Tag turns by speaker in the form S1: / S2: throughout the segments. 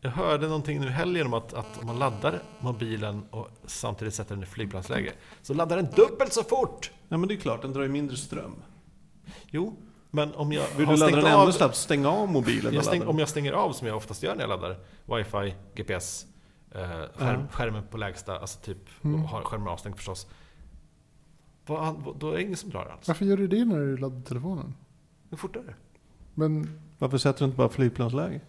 S1: Jag hörde någonting nu i helgen om att, att om man laddar mobilen och samtidigt sätter den i flygplansläge så laddar den dubbelt så fort!
S2: Ja men det är klart, den drar ju mindre ström.
S1: Jo, men om jag
S2: Vill
S1: har
S2: du ladda
S1: stängt
S2: den
S1: av-
S2: ännu snabbt, stäng av mobilen
S1: jag
S2: och
S1: stäng,
S2: ladda
S1: Om
S2: den.
S1: jag stänger av, som jag oftast gör när jag laddar, wifi, GPS, eh, skärm,
S2: Ja. Mm.
S1: skärmen på lägsta, alltså typ och har skärmen avstängd förstås. Vad, då är det ingen som drar alls.
S3: Varför gör du det när du laddar telefonen?
S1: Hur fort är det?
S3: Men
S2: Varför sätter du inte bara flygplansläge?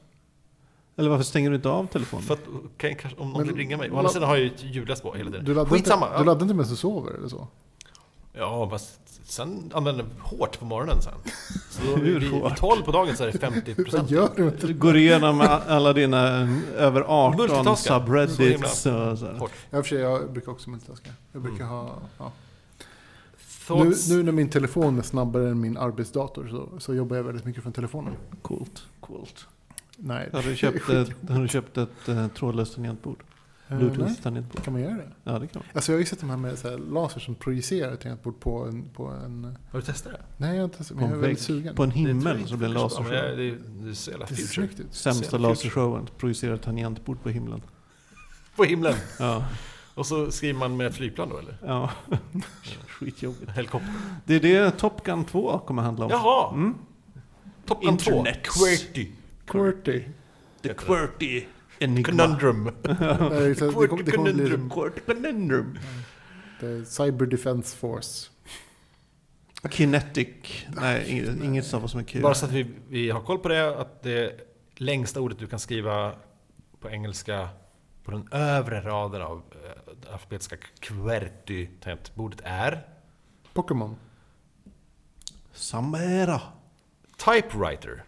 S2: Eller varför stänger du inte av telefonen?
S1: För att, kan jag, kanske- om någon
S3: Men-
S1: vill ringa mig. Å
S3: la-
S1: andra sidan har jag ju ett ljudlöst på hela tiden.
S3: du laddar, inte,
S1: Skitsamma!
S3: du laddar inte medan du sover eller så?
S1: Ja, fast sen använder jag hårt på morgonen sen. Så då
S2: Hur
S1: vid, vid
S2: hårt?
S1: 12 på dagen så är det 50
S3: Vad
S1: procent.
S3: gör du med
S2: Du går igenom a- alla dina eh, över 18
S1: Multitaskar.
S2: subreddits och sådär.
S1: Hårt.
S3: Jag, för sig, jag brukar också multitaska. Jag brukar
S2: Mm.
S3: ha... Ja. Nu,
S1: Thoughts?
S3: nu när min telefon är snabbare än min arbetsdator så, så jobbar jag väldigt mycket från telefonen.
S2: Coolt, coolt.
S3: Nej.
S2: Har du köpt ett, har du köpt ett eh, trådlöst tangentbord?
S3: Eh,
S2: Bluetooth
S3: nej.
S2: tangentbord?
S3: Kan man göra det?
S2: Ja, det kan man.
S3: Alltså jag har ju sett de här med så här laser som projicerar ett tangentbord på en, på en...
S1: Har du testat det?
S3: Nej, jag har inte testat,
S2: På
S3: men jag
S2: en
S3: är väldigt
S2: vägg.
S3: sugen.
S2: På en
S1: Det tror
S2: himmel
S1: jag
S2: så blir det
S1: inte förstår, men Det är,
S2: lasershow.
S1: det är, det är så jävla
S3: det ser
S1: future.
S3: snyggt ut.
S2: Sämsta
S1: Future.
S2: lasershowen. Projicera tangentbord på himlen.
S1: På himlen!
S2: Ja,
S1: Och så skriver man med ett flygplan då eller?
S2: ja. Skitjobbigt.
S1: En helikopter.
S2: Det är det Top Gun 2 kommer handla om.
S1: Jaha!
S2: Mm.
S1: Top Gun 2.
S2: Internet.
S1: Quirty.
S3: Qwerty.
S2: The QWERTY Enigma.
S1: Conundrum.
S3: Nej, så Alltså, Det kommer- det kommer bli
S1: Conundrum.
S2: QWERTY Conundrum.
S3: the Cyber Defense Force.
S2: Kinetic. Nej, inget- inget stavas med Q.
S1: Bara så att vi, vi har koll på det, att det längsta ordet du kan skriva på engelska på den övre raden av eh, det alfabetiska QWERTY-tangentbordet är
S3: Pokémon.
S2: Samera.
S1: typewriter.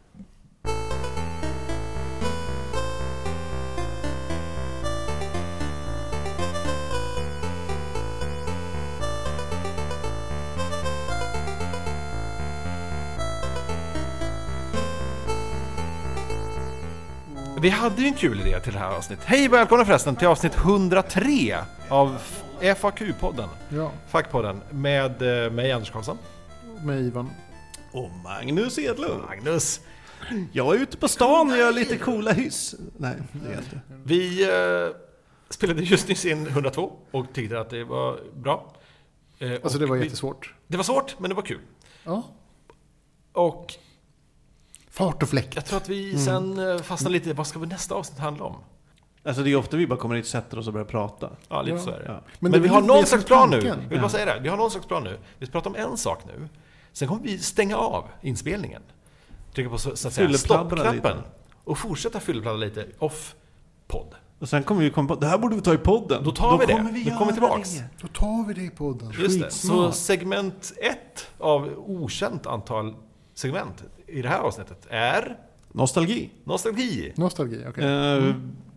S1: Vi hade ju en kul idé till det här avsnittet. Hej och välkomna förresten till avsnitt 103 av FAQ-podden,
S3: Ja,
S1: Fackpodden, med eh, mig Anders Karlsson.
S3: med Ivan.
S2: Och Magnus Edlund.
S1: Magnus!
S2: Jag är ute på stan och gör lite coola hyss. Nej, det är jag inte.
S1: Vi eh, spelade just nyss in 102 och tyckte att det var bra. Eh,
S3: Alltså
S1: och
S3: det var
S1: vi-
S3: jättesvårt.
S1: Det var svårt, men det var kul.
S3: Ja.
S1: Och
S3: Fart och fläkt.
S1: jag tror att
S3: Mm.
S1: vi sen eh, fastnade lite, vad ska vi nästa avsnitt handla om?
S2: Alltså det är ofta vi bara kommer hit, sätter oss och börjar prata.
S1: Ja, lite
S3: Ja.
S1: så är det.
S2: Ja. Men
S1: Men,
S3: det är
S1: vi
S3: väl
S1: har
S3: lite
S1: någon
S3: det som är
S1: slags plan nu. Jag
S3: tanken.
S1: vill bara säga det. Vi har någon slags plan nu. Vi ska prata om en sak nu. Sen kommer vi stänga av inspelningen. Trycka på så, så att säga
S2: Fyllepladdra
S1: stoppknappen.
S2: lite.
S1: Och fortsätta fyllepladdra lite off podd.
S2: Och sen kommer vi komma på, det här borde vi ta i podden.
S1: Då tar vi det.
S2: Kommer vi
S1: Då kommer vi
S2: göra
S1: tillbaks.
S2: det.
S3: Då tar vi det i podden.
S1: Just det. Så
S2: Skitsmart.
S1: segment ett av okänt antal segment i det här avsnittet är
S2: Nostalgi.
S1: nostalgi.
S3: Nostalgi, okej. Mm.
S2: Eh,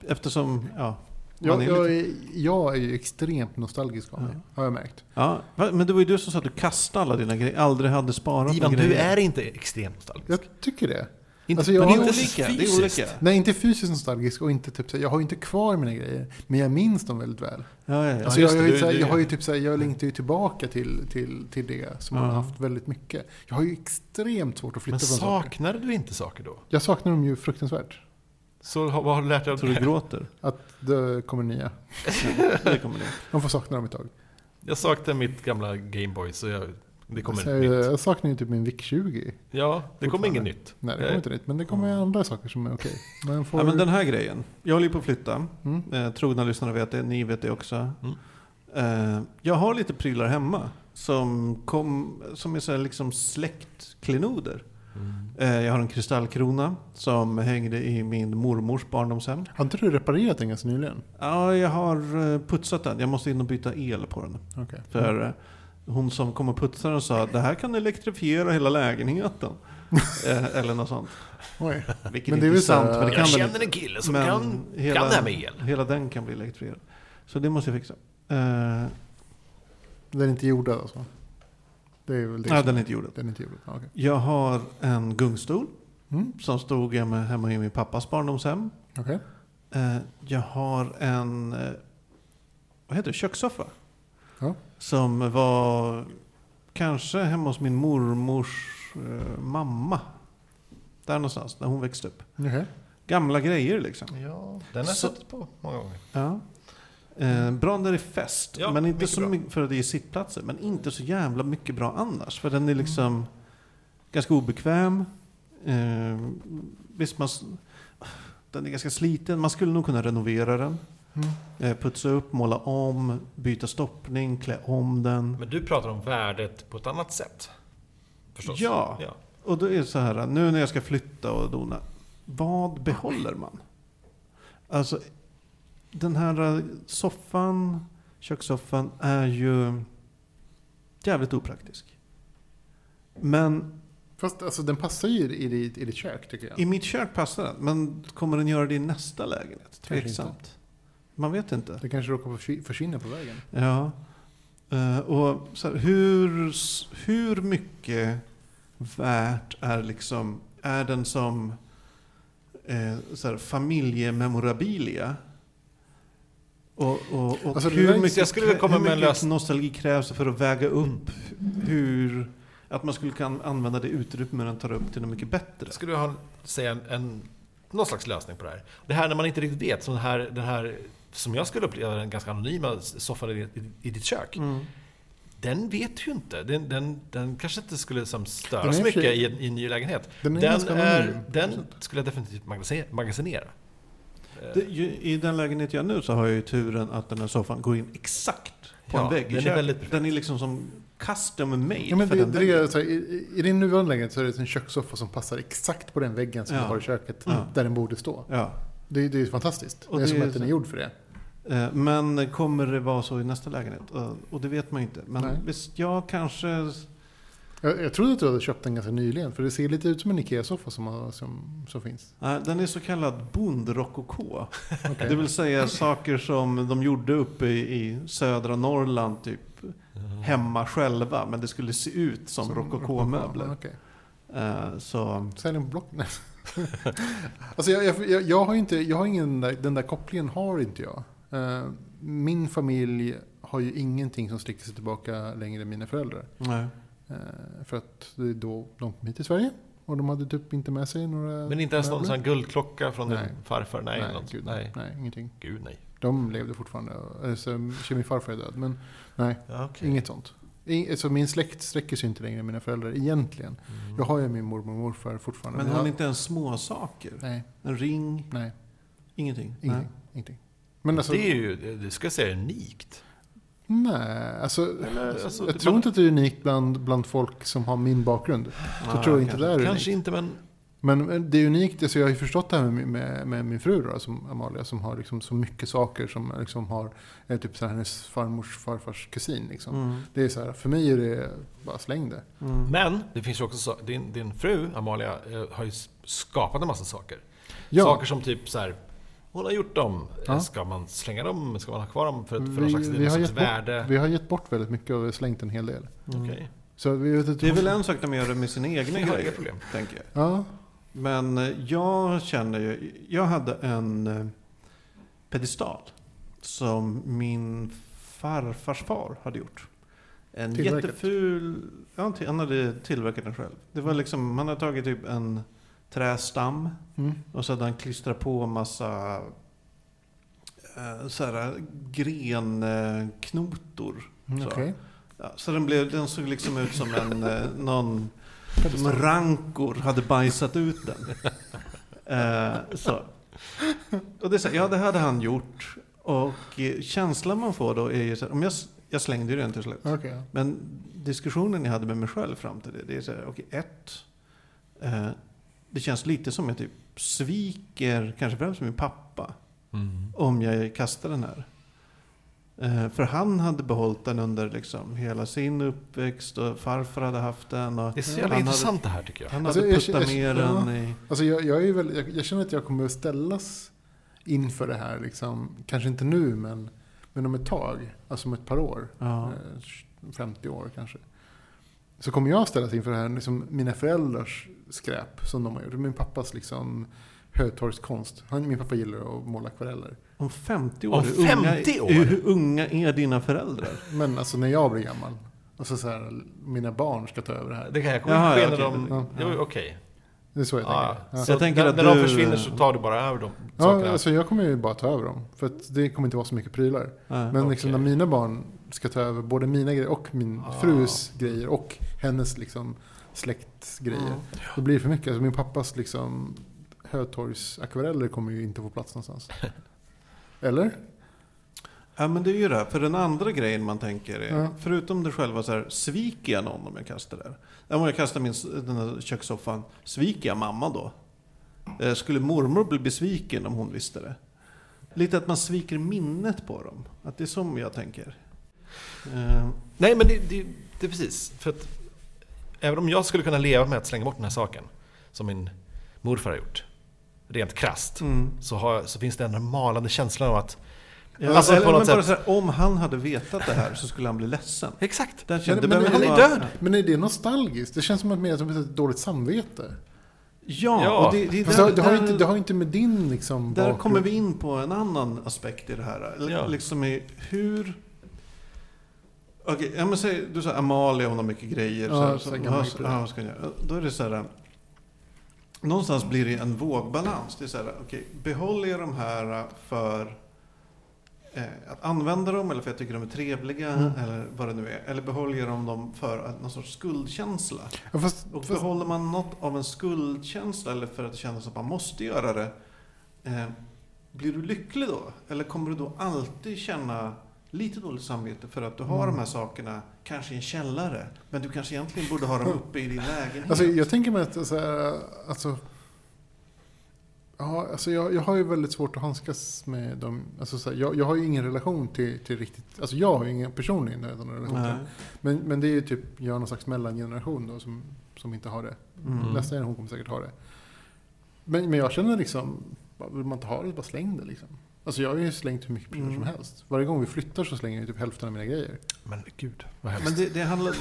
S2: Eftersom, ja. man
S3: Jag,
S2: är
S3: jag,
S2: lite-
S3: är, jag är ju extremt nostalgisk av mig, har jag märkt.
S2: ja. Va? Men det var ju du som sa att du kastade alla dina grejer, aldrig hade sparat
S1: Ivan,
S2: på
S1: du
S2: grejer.
S1: är inte extremt nostalgisk.
S3: Jag tycker det.
S2: Inte,
S3: Alltså, jag
S2: men
S3: har
S2: det är
S3: ju-
S2: olika. Det är
S1: fysiskt.
S2: olika.
S3: Nej, inte fysiskt nostalgisk och inte typ så här, jag har ju inte kvar mina grejer, men jag minns dem väldigt väl.
S2: Ja, ja, ja.
S3: Alltså,
S1: just
S3: jag,
S1: det,
S3: har ju
S1: du-
S3: så här,
S1: du-
S3: jag har ju typ så här, jag längtar ju tillbaka till, till, till det som man har haft väldigt mycket. Jag har ju extremt svårt att flytta
S1: Men
S3: från saker.
S1: saknar du inte saker då?
S3: Jag saknar dem ju fruktansvärt.
S1: Så har- vad har du lärt dig av
S2: Tror du
S1: det?
S2: gråter?
S3: Att det kommer nya.
S2: Det kommer det.
S3: Man får sakna dem ett tag.
S1: Jag saknar mitt gamla Gameboy, så jag, det kommer
S3: Så
S1: ett nytt.
S3: jag, jag saknar ju typ min VIC-20.
S1: Ja, det kommer inget nytt. Eh,
S3: Nej, det kommer inte nytt. Men det kommer andra saker som är okej. Man får...
S2: Eh, Ja, men den här grejen. Jag håller ju på att flytta.
S3: Mm.
S2: Eh, trogna lyssnare vet det, ni vet det också. Eh, jag har lite prylar hemma som, kom, som är så här liksom släktklenoder.
S1: mm.
S2: Eh, jag har en kristallkrona som hängde i min mormors barndomshem.
S3: Har inte du reparerat den ganska nyligen?
S2: Ja, jag har eh, putsat den. Jag måste in och byta el på den.
S3: Okej.
S2: För eh, hon som kom och putsade den sa det här kan elektrifiera hela lägenheten. eh, eller något sånt.
S3: Oj.
S2: Vilket men
S3: Men det
S2: det
S3: är
S2: inte är
S3: väl så här-
S2: sant. Men det
S1: Jag
S2: kan väl
S1: känner
S2: inte.
S1: en kille som
S2: Men
S1: kan, kan det här med el.
S2: Hela den kan bli elektrifierad. Så det måste jag fixa. Eh,
S3: Den är inte gjord alltså? Det är väl det.
S2: nej,
S3: som-
S2: den är inte gjord.
S3: den är inte gjord. Ja, okej.
S2: Jag har en gungstol
S3: Mm.
S2: som stod hemma, hemma i min pappas barndomshem.
S3: Okej.
S2: Eh, jag har en eh, vad heter det? kökssoffa.
S3: Ja.
S2: Som var kanske hemma hos min mormors eh, mamma. Där någonstans, när hon växte upp.
S3: Okej.
S2: Gamla grejer liksom.
S1: Ja, den har jag
S2: Så-
S1: suttit på många gånger.
S2: Ja. Eh, bra när det är fest,
S1: Ja,
S2: men inte
S1: mycket
S2: så
S1: bra.
S2: mycket för att det är sittplatser. Men inte så jävla mycket bra annars. För
S1: Mm.
S2: den är liksom ganska obekväm. Eh, visst, man, s- den är ganska sliten. Man skulle nog kunna renovera den.
S1: Mm.
S2: Eh, putsa upp, måla om, byta stoppning, klä om den.
S1: Men du pratar om värdet på ett annat sätt. Förstås.
S2: Ja.
S1: ja.
S2: Och då är det så här, nu när jag ska flytta och dona, vad behåller man? Alltså, den här eh, soffan, kökssoffan, är ju jävligt opraktisk. Men
S3: Fast alltså, den passar ju i ditt, i ditt kök tycker jag.
S2: i mitt kök passar den. Men kommer den göra det i nästa lägenhet?
S3: Kanske
S2: Tveksamt. Man vet inte.
S3: Det kanske råkar försvi- försvinna på vägen.
S2: Ja. Eh, och så här, hur, s- hur mycket värt är liksom, är den som eh, så här, familjememorabilia? Och, och, och
S3: Alltså, det där
S2: hur
S3: är-
S2: mycket,
S1: jag skulle vilja komma
S2: hur
S1: med en
S2: mycket
S1: lös-
S2: nostalgi krävs för att väga upp hur, att man skulle kunna använda det utrymme den tar upp till något mycket bättre?
S1: Ska du ha, säga en, en, någon slags lösning på det här? Det här när man inte riktigt vet, som den här, den här som jag skulle uppleva den ganska anonyma soffan i, i, i ditt kök.
S2: Mm.
S1: Den vet ju inte. Den, den, den kanske inte skulle som
S3: Den är
S1: störas
S3: i och för
S1: mycket
S3: sig-
S1: i en, i en ny lägenhet.
S3: den
S1: Den,
S3: är
S1: är
S3: ganska anonym, på
S1: den
S3: något
S1: skulle jag definitivt magasi- magasinera.
S2: Det, ju, I den lägenhet jag nu så har jag ju turen att den här soffan går in exakt på
S1: Ja,
S2: en vägg i
S1: den är
S2: köket.
S1: väldigt perfekt.
S2: Den är liksom som custom made
S3: Ja, men
S2: för
S3: det,
S2: den
S3: det
S2: väggen.
S3: är, så här, i, i- I din nuvarande lägenhet så är det en kökssoffa som passar exakt på den väggen som
S2: Ja.
S3: du har i köket,
S2: Ja.
S3: där den borde stå.
S2: Ja.
S3: Det, det är ju fantastiskt.
S2: Och
S3: det är
S2: det
S3: som
S2: är
S3: att den
S2: så-
S3: är gjord för det.
S2: Eh, Men kommer det vara så i nästa lägenhet? Eh, Och det vet man ju inte. Men
S3: Nej.
S2: visst, jag kanske...
S3: Jag, jag trodde att du hade köpt den ganska nyligen, för det ser lite ut som en IKEA-soffa som, har- som, som finns.
S2: Nej, den är så kallad bondrokoko.
S3: Okej.
S2: Det vill säga saker som de gjorde uppe i, i södra Norrland, typ
S1: Eh,
S2: hemma själva. Men det skulle se ut som, rokokomöbler.
S3: Ja, okej.
S2: Eh, Så...
S3: Sälj den på Blocket. alltså jag, jag, jag, jag har ju inte, jag har ingen, där, den där kopplingen har inte jag. Eh, Min familj har ju ingenting som sträcker sig tillbaka längre än mina föräldrar.
S2: Nej.
S3: Eh, För att det är då de kom hit till Sverige. Och de hade typ inte med sig några...
S1: Men inte ens någon sån
S3: möbler.
S1: här guldklocka från
S3: Nej.
S1: din farfar? Nej,
S3: Nej,
S1: något,
S3: gud, nej.
S1: nej.
S3: ingenting.
S1: Gud nej.
S3: De levde fortfarande. Alltså, min farfar är död, men nej,
S1: Okay.
S3: inget sånt. Ing- Alltså, min släkt sträcker sig inte längre än mina föräldrar egentligen.
S1: Mm.
S3: Då har jag min mormor och morfar fortfarande.
S2: Men
S3: jag,
S2: har ni inte ens småsaker?
S3: Nej,
S2: En ring?
S3: nej,
S2: Ingenting?
S3: ingenting. ingenting. Men alltså,
S1: Det är ju, det- det ska jag säga, är unikt.
S3: nej, alltså,
S1: Eller, alltså,
S3: jag
S1: det-
S3: tror inte att det är unikt bland, bland folk som har min bakgrund.
S2: Nej,
S3: jag tror inte
S2: kanske.
S3: det är unikt.
S1: Kanske inte, men
S3: Men men det är unikt, alltså jag har ju förstått det här med, med, med min fru då, som Amalia, som har liksom så mycket saker som liksom har eh, typ så här, hennes farmors farfars kusin. Liksom.
S2: Mm.
S3: Det är så här, för mig är det bara släng det.
S2: Mm.
S1: Men det finns ju också så, din, din fru Amalia eh, har ju s- skapat en massa saker.
S3: Ja.
S1: Saker som typ så här, hon har gjort dem. Eh,
S3: Ja.
S1: Ska man slänga dem? Ska man ha kvar dem för, för någon
S3: Vi-
S1: slags,
S3: vi
S1: någon
S3: har
S1: slags
S3: gett bort-
S1: värde?
S3: Vi har gett bort väldigt mycket och slängt en hel del.
S1: Okej.
S3: Så vi vet inte
S2: Mm. Det är väl en sak när man gör det med sina egna
S1: Jag har
S2: grejer,
S1: inga problem.
S2: tänker jag.
S3: Ja,
S2: Men eh, jag känner ju, jag hade en eh, pedestal som min farfars far hade gjort. En
S3: Tillverkat.
S2: jätteful, ja, han till- han hade tillverkat den själv. Det var liksom, han hade tagit typ en trästam
S3: mm.
S2: och så hade han klistrat på massa eh, så här, grenknotor.
S3: okej.
S2: Så. Ja, så den, blev, den såg liksom ut som en, eh, någon som rankor hade bajsat ut den. Eh, så. Och det är så här, ja det hade han gjort. Och eh, känslan man får då är ju så här, om jag, s- jag slängde ju den till slut.
S3: Okej, ja.
S2: Men diskussionen jag hade med mig själv fram till det, det är så här, okej ett, eh, det känns lite som jag typ sviker, kanske främst min pappa,
S1: Mm.
S2: om jag kastar den här. Eh, För han hade behållit den under liksom hela sin uppväxt och farfar hade haft den. Och
S1: Det är så jävla
S2: Han
S1: intressant det här tycker jag.
S2: han
S3: Alltså,
S2: hade
S3: jag-
S2: puttat
S3: jag-
S2: ner
S3: ja.
S2: den i...
S3: Alltså jag, jag, är väl, jag, jag känner att jag kommer att ställas inför det här. Liksom. Kanske inte nu, men, men om ett tag. Alltså om ett par år.
S2: Ja.
S3: Eh, 50 år kanske. Så kommer jag ställas inför det här, liksom mina föräldrars skräp som de har gjort. Min pappas liksom hötorgskonst. Han, min pappa gillar att måla akvareller.
S2: Om 50 år,
S1: Om
S2: hur unga-
S1: 50 år?
S2: hur unga är dina föräldrar?
S3: Men alltså när jag blir gammal, alltså så här, mina barn ska ta över det här.
S1: Det kan jag kommer
S2: Jaha,
S1: ske
S2: ja,
S1: när
S2: okej.
S1: de...
S3: Ja.
S1: det var ju Okej.
S3: Det är så jag
S1: Ja,
S3: tänker.
S1: ja.
S3: Ja.
S1: Så
S2: Jag tänker
S1: när,
S2: att
S1: när de
S2: du-
S1: försvinner så tar du bara över de
S3: Ja,
S1: sakerna.
S3: alltså jag kommer ju bara ta över dem. För att det kommer inte vara så mycket prylar.
S2: Ja.
S3: Men liksom
S1: okej.
S3: när mina barn ska ta över både mina grejer och min
S1: Ah.
S3: frus grejer och hennes liksom släkts grejer.
S2: Mm.
S3: Då blir det för mycket. Alltså min pappas liksom Hötorgsakvareller kommer ju inte få plats någonstans. Eller?
S2: Ja men det är ju det. här. För den andra grejen man tänker är,
S3: Ja.
S2: förutom det själva så här, sviker jag någon om jag kastar det här? Ja, Om jag kastar min, s- den här kökssoffan, sviker jag mamma då? Eh, Skulle mormor bli besviken om hon visste det? Lite att man sviker minnet på dem. Att det är som jag tänker. Eh,
S1: Nej, men det, det, det är precis. För att även om jag skulle kunna leva med att slänga bort den här saken, som min morfar har gjort, rent krasst,
S2: Mm.
S1: så, har, så finns det den här malande känslan av att...
S2: Ja,
S1: alltså
S2: eller,
S1: på något
S2: men bara
S1: sätt...
S2: så här, om han hade vetat det här så skulle han bli ledsen.
S1: Exakt!
S2: Den
S3: Men-
S2: det
S3: men
S2: behöver
S3: han
S2: inte
S1: är
S2: vara-
S1: död.
S3: Men är det nostalgiskt? Det känns som att mer som ett dåligt samvete.
S2: Ja,
S1: Ja.
S2: och det, det, är
S3: Fast
S2: där-
S3: det, det, har
S2: där-
S3: ju inte, det har ju inte med din liksom
S2: Där
S3: bakgrund-
S2: kommer vi in på en annan aspekt i det här. L-
S1: Ja.
S2: Liksom i hur... Okej, ja, men säg, du sa Amalia, hon har mycket grejer.
S3: Ja,
S2: så här,
S3: så
S2: som-
S3: gammal
S2: ja, så-
S3: prylar.
S2: ja, vad ska jag göra? Då är det så här... Någonstans blir det en vågbalans. Det är så här, okej, behåller jag de här för eh, att använda dem eller för att jag tycker de är trevliga
S3: Mm.
S2: eller vad det nu är. Eller behåller jag dem- dem för att- någon sorts skuldkänsla?
S3: Ja, fast,
S2: Och
S3: fast,
S2: behåller man något av en skuldkänsla eller för att det känns att man måste göra det, eh, blir du lycklig då? Eller kommer du då alltid känna lite dåligt samvete för att du har
S3: Mm.
S2: de här sakerna kanske i en källare, men du kanske egentligen borde ha dem uppe i din lägenhet?
S3: Alltså, jag tänker mig att så här, alltså, ja, alltså jag, jag har ju väldigt svårt att handskas med dem. Alltså, så här, jag, jag har ju ingen relation till, till riktigt, alltså jag har ju ingen personlig någon relation
S2: Nej.
S3: till. Men, men det är ju typ, jag är någon slags mellangeneration då som, som inte har det.
S2: Mm.
S3: Nästa generation kommer säkert ha det. Men, men jag känner liksom, bara, vill man inte ha det, bara släng det liksom. Alltså jag har ju slängt hur mycket prylar
S2: Mm.
S3: som helst. Varje gång vi flyttar så slänger jag ju typ hälften av mina grejer.
S1: Men gud, vad hemskt.
S2: Men det, det handlar...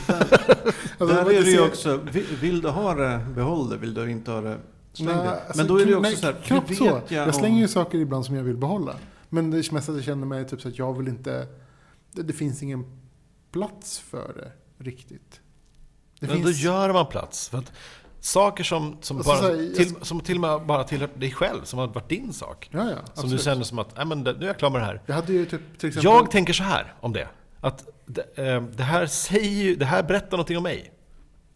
S3: Alltså,
S2: Där
S3: det
S2: är det ju
S3: ser-
S2: också, vill, vill du ha det, behåll det. Vill du inte ha det, släng
S3: Nej,
S2: det. Men
S3: alltså,
S2: då är det ju
S3: kn-
S2: också
S3: nej,
S2: så här, hur
S3: knappt så. Jag,
S2: vet jag om-
S3: slänger ju saker ibland som jag vill behålla. Men det är mest att jag känner mig typ så att jag vill inte... Det, det finns ingen plats för det riktigt. Det
S1: Men då gör man plats. För att saker som, som,
S3: Alltså,
S1: bara,
S3: så här, jag-
S1: till, som till och med bara tillhör dig själv, som har varit din sak.
S3: ja, ja,
S1: Som
S3: absolut.
S1: du känner som att, "Nej, men det- nu är jag klar med det här.
S3: Jag hade ju typ till exempel...
S1: Jag tänker så här om det. Att det, eh, det här säger ju, det här berättar någonting om mig.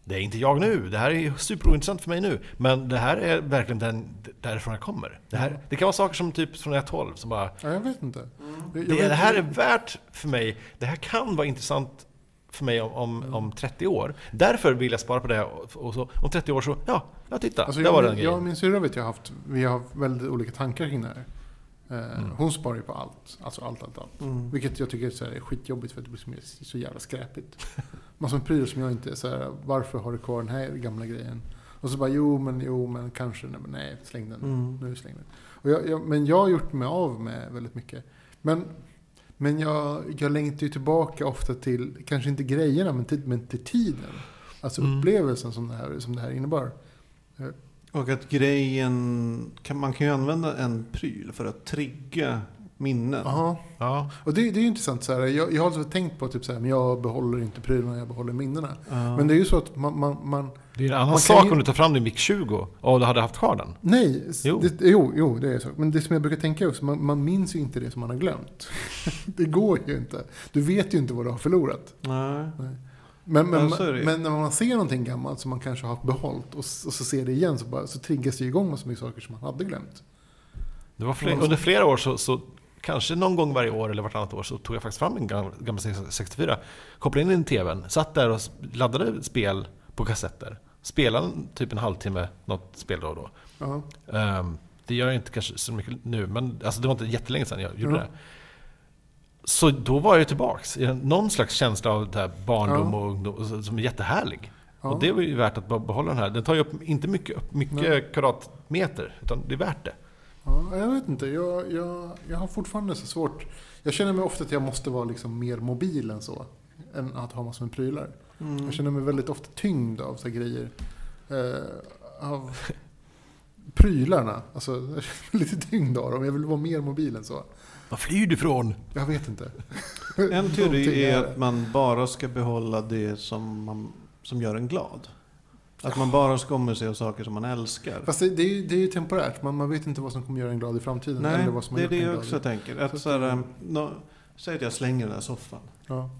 S1: Det är inte jag nu, det här är superointressant för mig nu. Men det här är verkligen den, därifrån jag kommer. Det, här, det kan vara saker som typ från när jag är 12, som bara,
S3: ja, jag vet inte. Jag, jag
S1: det,
S3: vet-
S1: det här är värt för mig, det här kan vara intressant för mig om,
S3: Mm.
S1: om, om 30 år. Därför vill jag spara på det och, och så, om 30 år så, ja, ja titta,
S3: Alltså,
S1: där
S3: jag,
S1: var den
S3: jag, och
S1: grejen.
S3: min syrra vet jag har haft, vi har haft väldigt olika tankar kring det här. Eh, Hon sparar ju på allt. Alltså allt, allt, allt.
S2: Mm.
S3: Vilket jag tycker är, så här, är skitjobbigt för att det blir så mer- så jävla skräpigt. Massor med prylar som jag inte... Så här, varför har du kvar den här gamla grejen? Och så bara jo men jo men kanske nej, men nej släng den.
S2: Mm.
S3: Nu släng den. Och jag, jag, men jag har gjort mig av med väldigt mycket. Men, men jag, jag längtar ju tillbaka ofta till, kanske inte grejerna men till, men till tiden. Alltså
S1: Mm.
S3: upplevelsen som det här, som det här innebar.
S2: Och att grejen, kan, man kan ju använda en pryl för att trigga minnen.
S3: Aha.
S1: Ja,
S3: Och det, det är ju intressant. Så här, jag, jag har alltid tänkt på typ så här, men jag behåller inte prylarna, jag behåller minnena.
S2: Ja.
S3: Men det är ju så att man, man, man
S1: det är en annan
S3: Man kan
S1: sak
S3: ju-
S1: om du tar fram din Mic 20 och du hade haft kvar den.
S3: nej, s-
S1: Jo.
S3: Det, jo, jo, det är så. Men det som jag brukar tänka är också, man, man minns ju inte det som man har glömt. det går ju inte. Du vet ju inte vad du har förlorat.
S2: Nej.
S3: Men, men,
S2: Ja, så är det ju.
S3: men när man ser någonting gammalt som man kanske har behållit och, s- och så ser det igen så, bara, så triggas det ju igång med så mycket saker som man hade glömt.
S1: Det var
S3: Mm.
S1: fler, under flera år så, så kanske någon gång varje år eller vartannat år så tog jag faktiskt fram en gammal, gammal 64. Kopplade in den i tvn, satt där och s- laddade spel på kassetter. Spelade en- typ en halvtimme något spel då och då.
S3: Ja.
S1: Ehm, det gör jag inte kanske så mycket nu, men alltså det var inte jättelänge sedan jag gjorde
S3: Ja.
S1: det. Så då var jag tillbaks i en- någon slags känsla av det här barndom
S3: Ja.
S1: och ungdom och så- som är jättehärlig.
S3: Ja.
S1: Och det var ju värt att bara behålla den här. Den tar ju upp inte mycket, upp
S3: Nej.
S1: mycket kvadratmeter, utan det är värt det.
S3: Ja, jag vet inte. Jag, jag, jag har fortfarande så svårt. Jag känner mig ofta att jag måste vara liksom mer mobil än så. Än att ha massor med prylar.
S2: Mm.
S3: Jag känner mig väldigt ofta tyngd av så här grejer. Eh, av prylarna. Alltså, jag känner mig lite tyngd av dem. Jag vill vara mer mobil än så.
S1: Var flyr du ifrån?
S3: Jag vet inte.
S2: En
S3: Någonting
S2: teori är
S3: är det.
S2: att man bara ska behålla det som, man, som gör en glad. Att man bara skommer sig av saker som man älskar.
S3: Fast det, det, är, ju- det är ju temporärt. Man, man vet inte vad som kommer göra en glad i framtiden.
S2: Nej,
S3: eller vad som har
S2: det är
S3: gjort
S2: det
S3: en
S2: jag
S3: glad.
S2: också tänker. Att,
S3: Så
S2: så här, mm, nå- säg att jag slänger den här soffan.
S3: Ja.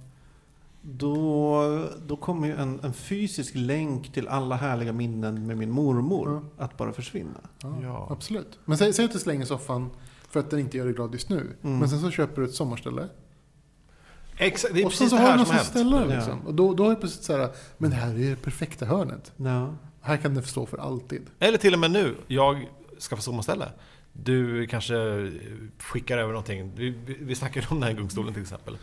S2: Då, då kommer ju en, en fysisk länk till alla härliga minnen med min mormor
S3: Mm.
S2: att bara försvinna.
S3: Ja,
S1: Ja.
S3: absolut. Men säg, säg att du slänger soffan för att den inte gör dig glad just nu.
S2: Mm.
S3: Men sen så köper du ett sommarställe.
S1: Exakt, det är
S3: och sen
S1: precis
S3: så
S1: det
S3: har
S1: här
S3: du
S1: som
S3: något
S1: har
S3: som
S1: hänt.
S3: ställer den,
S2: Ja.
S3: liksom. Och då, då är det precis så här, men det här är det perfekta hörnet.
S2: Ja.
S3: Här kan det stå för alltid.
S1: Eller till och med nu, jag skaffar sommarställe. Du kanske skickar över någonting. Vi, vi- vi snackade om den här gungstolen till exempel.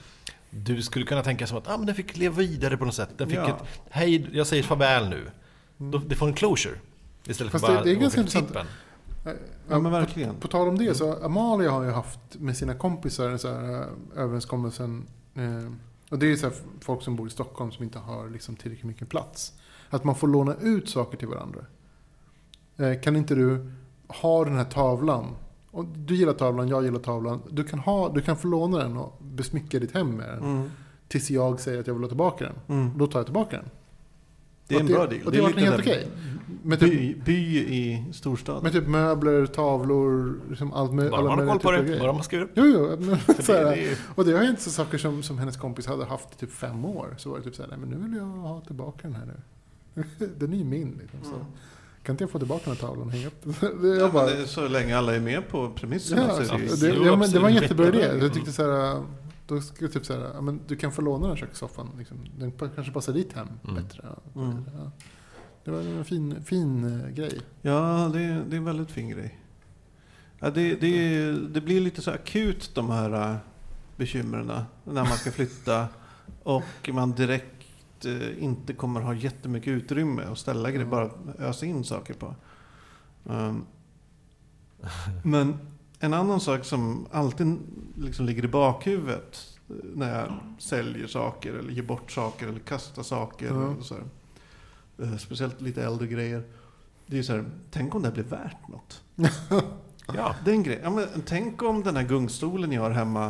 S1: Du skulle kunna tänka som att ah, men den fick leva vidare på något sätt. Den fick
S2: Ja.
S1: ett, hej, jag säger farväl nu. Då, det får en closure. Istället
S3: Fast
S1: för
S3: det-
S1: bara
S3: det är
S1: åka
S3: ganska
S1: till
S3: intressant.
S1: tippen.
S2: Ja, men
S3: på-
S2: verkligen.
S3: På tal om det så Amalia har ju haft med sina kompisar en så här eh, överenskommelsen. Eh, och det är ju så här f- folk som bor i Stockholm som inte har liksom tillräckligt mycket plats. Att man får låna ut saker till varandra. Eh, kan inte du ha den här tavlan? Och du gillar tavlan, jag gillar tavlan. Du kan, ha, du kan få låna den och besmycka ditt hem med den.
S2: Mm.
S3: Tills jag säger att jag vill ha tillbaka den.
S2: Mm.
S3: Då tar jag tillbaka den.
S2: Det är en
S3: Och det-
S2: bra deal.
S3: och det var
S2: lite
S3: helt
S2: där
S3: okej. Med typ,
S2: By, by i storstaden.
S3: med typ möbler, tavlor, liksom allt med,
S1: Bara man har koll på
S3: typer av
S1: det,
S3: grejer.
S1: bara man skriver upp.
S3: Jo, jo. Men,
S1: För
S3: så
S1: det,
S3: här,
S1: det är ju-
S3: och det var ju inte så saker som, som hennes kompis hade haft i typ fem år. Så var det typ så här, nej men nu vill jag ha tillbaka den här nu. den är ju min liksom. Så.
S2: Mm.
S3: Kan inte jag få tillbaka den här tavlan och hänga upp den?
S2: Ja,
S3: jag bara,
S2: men det är så länge alla är med på
S3: ja,
S2: premisserna så är
S3: alltså,
S2: det ju...
S3: det,
S1: Jo,
S3: ja, men det var en
S1: absolut.
S3: jättebra idé.
S1: Jättebra.
S3: Jag tyckte så här, då skulle jag typ så här, ja, men du kan få låna den här kökssoffan. Liksom. Den pa- kanske passar ditt hem
S1: Mm.
S3: bättre. Ja.
S2: Mm.
S3: Ja. Det var en fin, fin eh, grej.
S2: Ja, det, är- det är en väldigt fin grej. Ja, det, det, är- det blir lite så akut de här äh, bekymren när man ska flytta och man direkt eh, inte kommer ha jättemycket utrymme att ställa grejer, bara ösa in saker på. Ehm, Men en annan sak som alltid liksom ligger i bakhuvudet eh, när jag säljer saker eller ger bort saker eller kastar saker.
S3: Ja.
S2: Och så här. Eh, Speciellt lite äldre grejer. Det är ju så här, tänk om det här blir värt något.
S1: ja.
S2: Den grejen, ja, men, tänk om den här gungstolen jag har hemma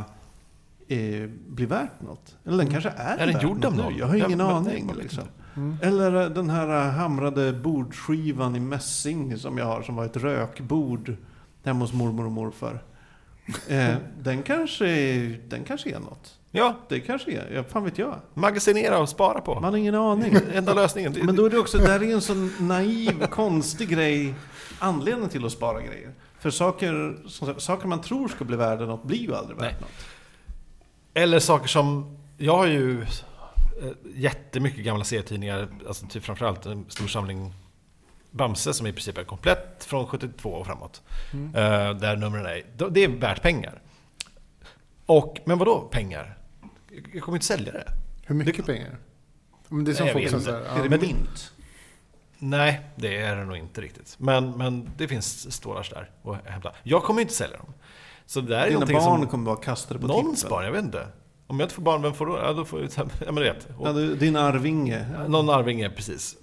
S2: eh, blir värt något. Eller den kanske är,
S1: Mm. Är den
S2: värd
S1: gjord av
S2: något
S1: någon?
S2: nu. Jag har
S1: Ja,
S2: ingen
S1: men-
S2: aning.
S1: man vet
S2: liksom.
S3: Mm.
S2: Eller eh, den här eh, hamrade bordskivan i mässing som jag har som var ett rökbord hemma hos mormor och morfar. Eh, den, kanske är, den kanske är något.
S1: ja,
S2: Det kanske är, ja, fan vet jag.
S1: magasinera och spara på.
S2: Man har ingen aning.
S1: Enda lösningen. Det-
S2: Men då är det också, där är en sån naiv, konstig grej, anledning till att spara grejer. För saker, som sagt, saker man tror ska bli värda något blir ju aldrig
S1: Nej.
S2: värt något.
S1: Eller saker som, jag har ju eh, jättemycket gamla serietidningar, alltså typ framförallt en stor samling Bamse som i princip är komplett från 72 och framåt.
S3: Mm.
S1: Eh, Där numren är, då- det är värt pengar. Och, men vadå pengar? Jag kommer inte sälja det.
S3: Hur mycket pengar? Men det är som
S1: Nej, jag
S3: folk
S1: vet
S3: som
S1: inte.
S3: säger,
S2: Är
S3: ja,
S2: det
S1: men-
S2: mynt?
S1: Nej, det är det nog inte riktigt. Men, men det finns stålar där och hämta. Jag kommer inte sälja dem. Så det där är
S2: Dina
S1: någonting
S2: barn
S1: som...
S2: kommer bara kasta det på
S1: Någon
S2: tippen.
S1: sparar, jag vet inte. Om jag inte får barn, vem får då? Ja, då får jag... Ja, men du vet. Och-
S2: Ja, du- din arvinge.
S1: Någon arvinge, precis.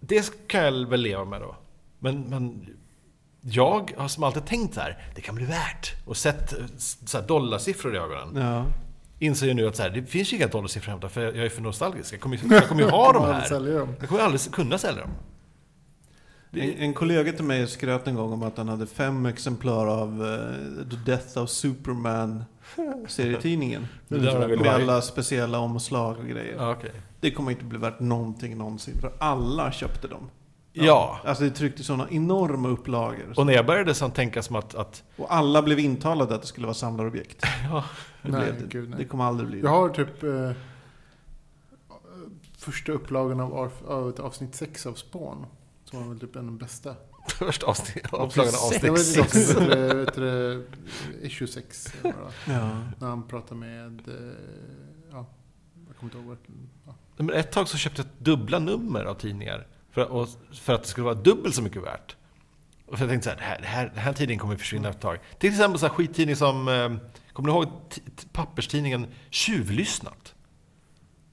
S1: Det kan jag väl leva med då. Men, men jag har som alltid tänkt så här, det kan bli värt. Och sett eh, så här dollarsiffror i ögonen.
S2: Ja.
S1: Inser ju nu att så här, det finns ju inga dollarsiffror att hämta för jag jag är för nostalgisk. Jag kommer, ju- jag kommer ju ha de
S3: kommer aldrig
S1: här.
S3: sälja dem.
S1: Jag kommer aldrig kunna sälja dem.
S2: En, en kollega till mig skröt en gång om att han hade fem exemplar av eh, The Death of Superman serietidningen.
S1: Det där har jag velat
S2: med
S1: ha.
S2: alla speciella omslag och grejer.
S1: Ja, okej.
S2: Det kommer inte bli värt någonting någonsin, för alla köpte dem.
S1: Ja.
S2: Alltså det tryckte sådana enorma upplagor.
S1: Och när jag började så tänka som att, att
S2: Och alla blev intalade att det skulle vara samlarobjekt.
S1: ja,
S2: Det,
S3: Nej,
S2: blev,
S3: gud, nej.
S2: det kommer aldrig bli
S3: Jag
S2: det.
S3: har typ eh, första upplagan av, av, av ett avsnitt 6 av Spawn. Som var väl typ en av de bästa.
S1: första avsnitt, avslagen
S3: Det
S1: avsnitt
S3: var typ
S1: sex.
S3: ett avsnitt, äh, issue 6.
S2: Ja.
S3: När han pratar med, eh, ja, jag kommer inte ihåg vart. Ja.
S1: Men ett tag så köpte jag dubbla nummer av tidningar. För, och, för att det skulle vara dubbelt så mycket värt. Och för jag tänkte så här, det här, det här, den här tidningen kommer försvinna ett tag. Till exempel så här skittidning som, eh, kommer ni ihåg t- t- papperstidningen Tjuvlyssnat?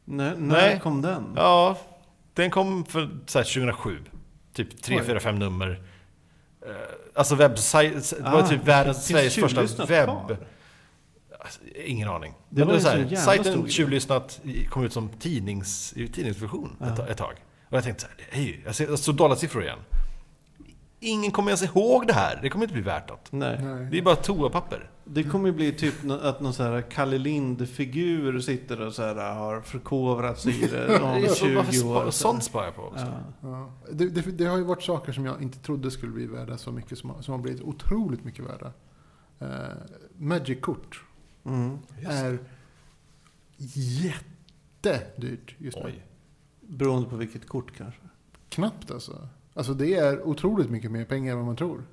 S2: När, när
S1: Nej.
S2: kom den?
S1: Ja, den kom för så här, 2007. Typ 3,
S2: Oj.
S1: 4, 5 nummer. Eh, Alltså webbsite, det var
S2: Ah,
S1: typ världens,
S2: finns
S1: Sveriges första
S2: Tjuvlyssnat
S1: webb...
S2: kvar?
S1: Alltså, ingen aning.
S2: Det
S1: Men
S2: var
S1: det var så
S2: ju
S1: här,
S2: en sån jävla stor
S1: sajten
S2: grej.
S1: Tjuvlyssnat kom ut som tidnings, i tidningsversion ett,
S2: Ja.
S1: ett tag. Och Och jag tänkte så här, det är ju, jag ser- jag såg dollarsiffror igen. Ingen kommer ens ihåg det här. Det kommer inte bli värt något.
S2: Nej.
S1: Det
S3: Nej.
S1: är bara toapapper.
S2: Det kommer ju bli typ nå- att någon så här Kalle Lind-figur sitter och så här äh, har förkovrat sig i det om
S1: Jag-
S2: 20
S1: varför
S2: år.
S1: spa- Sånt sparar jag på också.
S2: Ja.
S3: Ja. Det, det, det har ju varit saker som jag inte trodde skulle bli värda så mycket som, har- som har blivit otroligt mycket värda. Eh, Magic-kort
S2: Mm.
S3: är jättedyrt just nu.
S1: Oj.
S2: Beroende på vilket kort kanske.
S3: Knappt alltså. Alltså det är otroligt mycket mer pengar än vad man tror.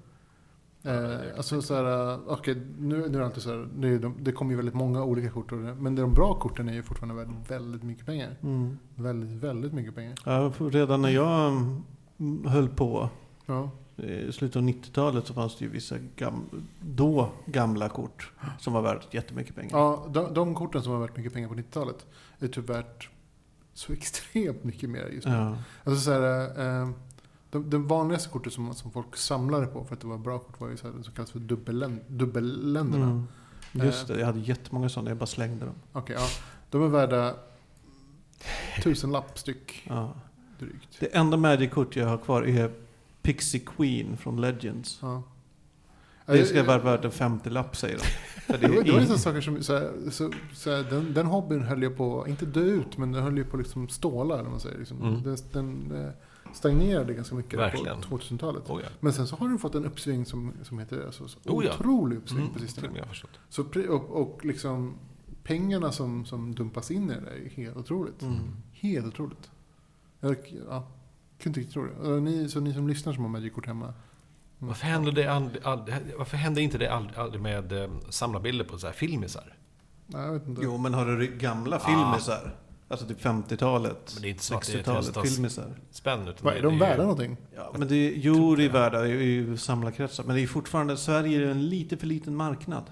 S3: Eh, alltså så här, eh, okej, nu, nu är det inte så här, det, är de, det kommer ju väldigt många olika kort. och det- Men de bra korten är ju fortfarande väldigt, väldigt mycket pengar.
S2: Mm.
S3: Väldigt, väldigt mycket pengar.
S2: Ja, för redan när jag mm, höll på
S3: Ja,
S2: i slutet av 90-talet så fanns det ju vissa gam- då gamla kort som var värt jättemycket pengar.
S3: ja de, de korten som har värt mycket pengar på 90-talet är typ värt så extremt mycket mer just nu.
S2: Ja.
S3: Alltså så här, eh, de, de vanligaste korten som, som folk samlade på för att det var bra kort var ju så här, den som kallas för dubbellän- dubbelländerna.
S2: Mm.
S1: Eh.
S2: Just det, jag hade jättemånga sådana. Jag bara slängde dem.
S3: Okej, ja. De är värda tusenlapp styck
S2: Ja.
S3: drygt.
S2: Det enda Magic-kort jag har kvar är Pixie Queen från Legends.
S3: Ja.
S2: Det ska vara värt en 50-lapp säger de. För
S3: Det
S2: det
S3: var,
S2: är
S3: det var ju
S2: in...
S3: sådana saker som, så här, så, så här, den, den hobbyn höll jag på, inte dö ut, men den höll ju på liksom ståla, eller vad man säger. Liksom.
S1: Mm.
S3: Den, den eh, stagnerade ganska mycket
S1: Verkligen.
S3: på 2000-talet.
S1: Oh, ja.
S3: Men sen så har den fått en uppsving som, som heter det. Alltså, så
S1: Oh ja.
S3: Otrolig uppsving
S1: Mm,
S3: på
S1: till
S3: sistone.
S1: och med, jag har förstått.
S3: Så, pri- och, och liksom pengarna som, som dumpas in i det där är helt otroligt.
S2: Mm.
S3: Helt otroligt. Jag ja, kunde inte riktigt tro det. Och Ni, så ni som lyssnar som har Magic-kort hemma. Mm.
S1: Varför hände, det aldrig, aldrig, varför hände inte det aldrig, aldrig med eh, samlarbilder på så här filmisar?
S3: Nej, jag vet inte.
S2: Jo, men har du ry- gamla
S1: Ah.
S2: filmisar? Alltså typ 50-talet,
S1: Men det är inte så att det är
S2: 60-talet
S1: testas.
S2: filmisar.
S1: Spänn utan
S3: Vad
S1: det-
S3: är de
S1: det är
S3: värda
S1: ju-
S3: någonting?
S2: Ja, men det är, jo, det är värda i, i samlarkretsar. Men det är fortfarande, Sverige är en lite för liten marknad.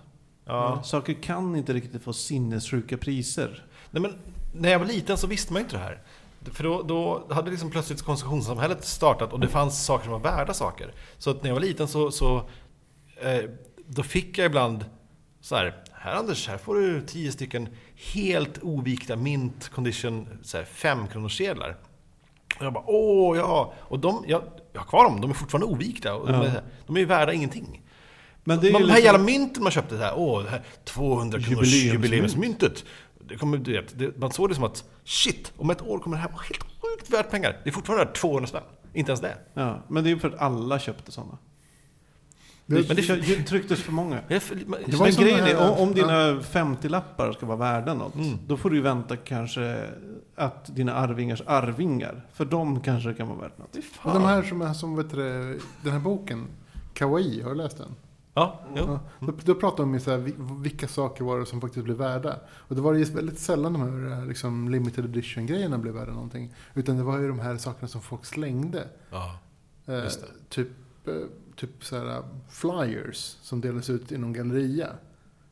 S1: Ja.
S2: Saker kan inte riktigt få sinnessjuka priser.
S1: Nej, men när jag var liten så visste man ju inte det här. För då, då hade liksom plötsligt konsumtionssamhället startat och det fanns saker som var värda saker. Så att när jag var liten så, så eh, då fick jag ibland så här, här Anders, här får du tio stycken helt ovikta mint condition så här, femkronorssedlar. Och jag bara, åh ja! Och de, jag, jag har kvar dem, de är fortfarande ovikta. Och de,
S2: Ja.
S1: är, de är ju värda ingenting.
S2: Men det är
S1: Man,
S2: liksom- ju
S1: de här
S2: lite-
S1: jävla mynten man köpte, så här, åh, det här 200 kronors
S2: Jubileumsmynt.
S1: jubileumsmyntet. Det kommer, du vet, det, man såg det som att shit, om ett år kommer det här vara helt sjukt värt pengar. Det är fortfarande värt 200 spänn. Inte ens det.
S2: Ja, men det är ju för att alla köpte sådana.
S3: Det-
S2: Det, det, det trycktes för många.
S1: Jag, för- man-
S3: Det var
S2: Men
S3: ju som
S2: grejen är,
S3: den här- Mm.
S2: om, om dina 50-lappar ska vara värda något, då får du ju vänta kanske att dina arvingars arvingar, för de kanske kan vara värt något.
S3: Och de här som är som, vet du, det, den här boken, Kawaii, har du läst den?
S1: ja, jo. Mm.
S3: Ja, då, då pratar de om så här, vi- vilka saker var det som faktiskt blev värda. Och det var ju väldigt sällan de här liksom, limited edition-grejerna blev värda någonting. Utan det var ju de här sakerna som folk slängde.
S1: Ja.
S3: Eh,
S1: Just
S3: typ eh, typ så här, flyers som delades ut i någon galleria.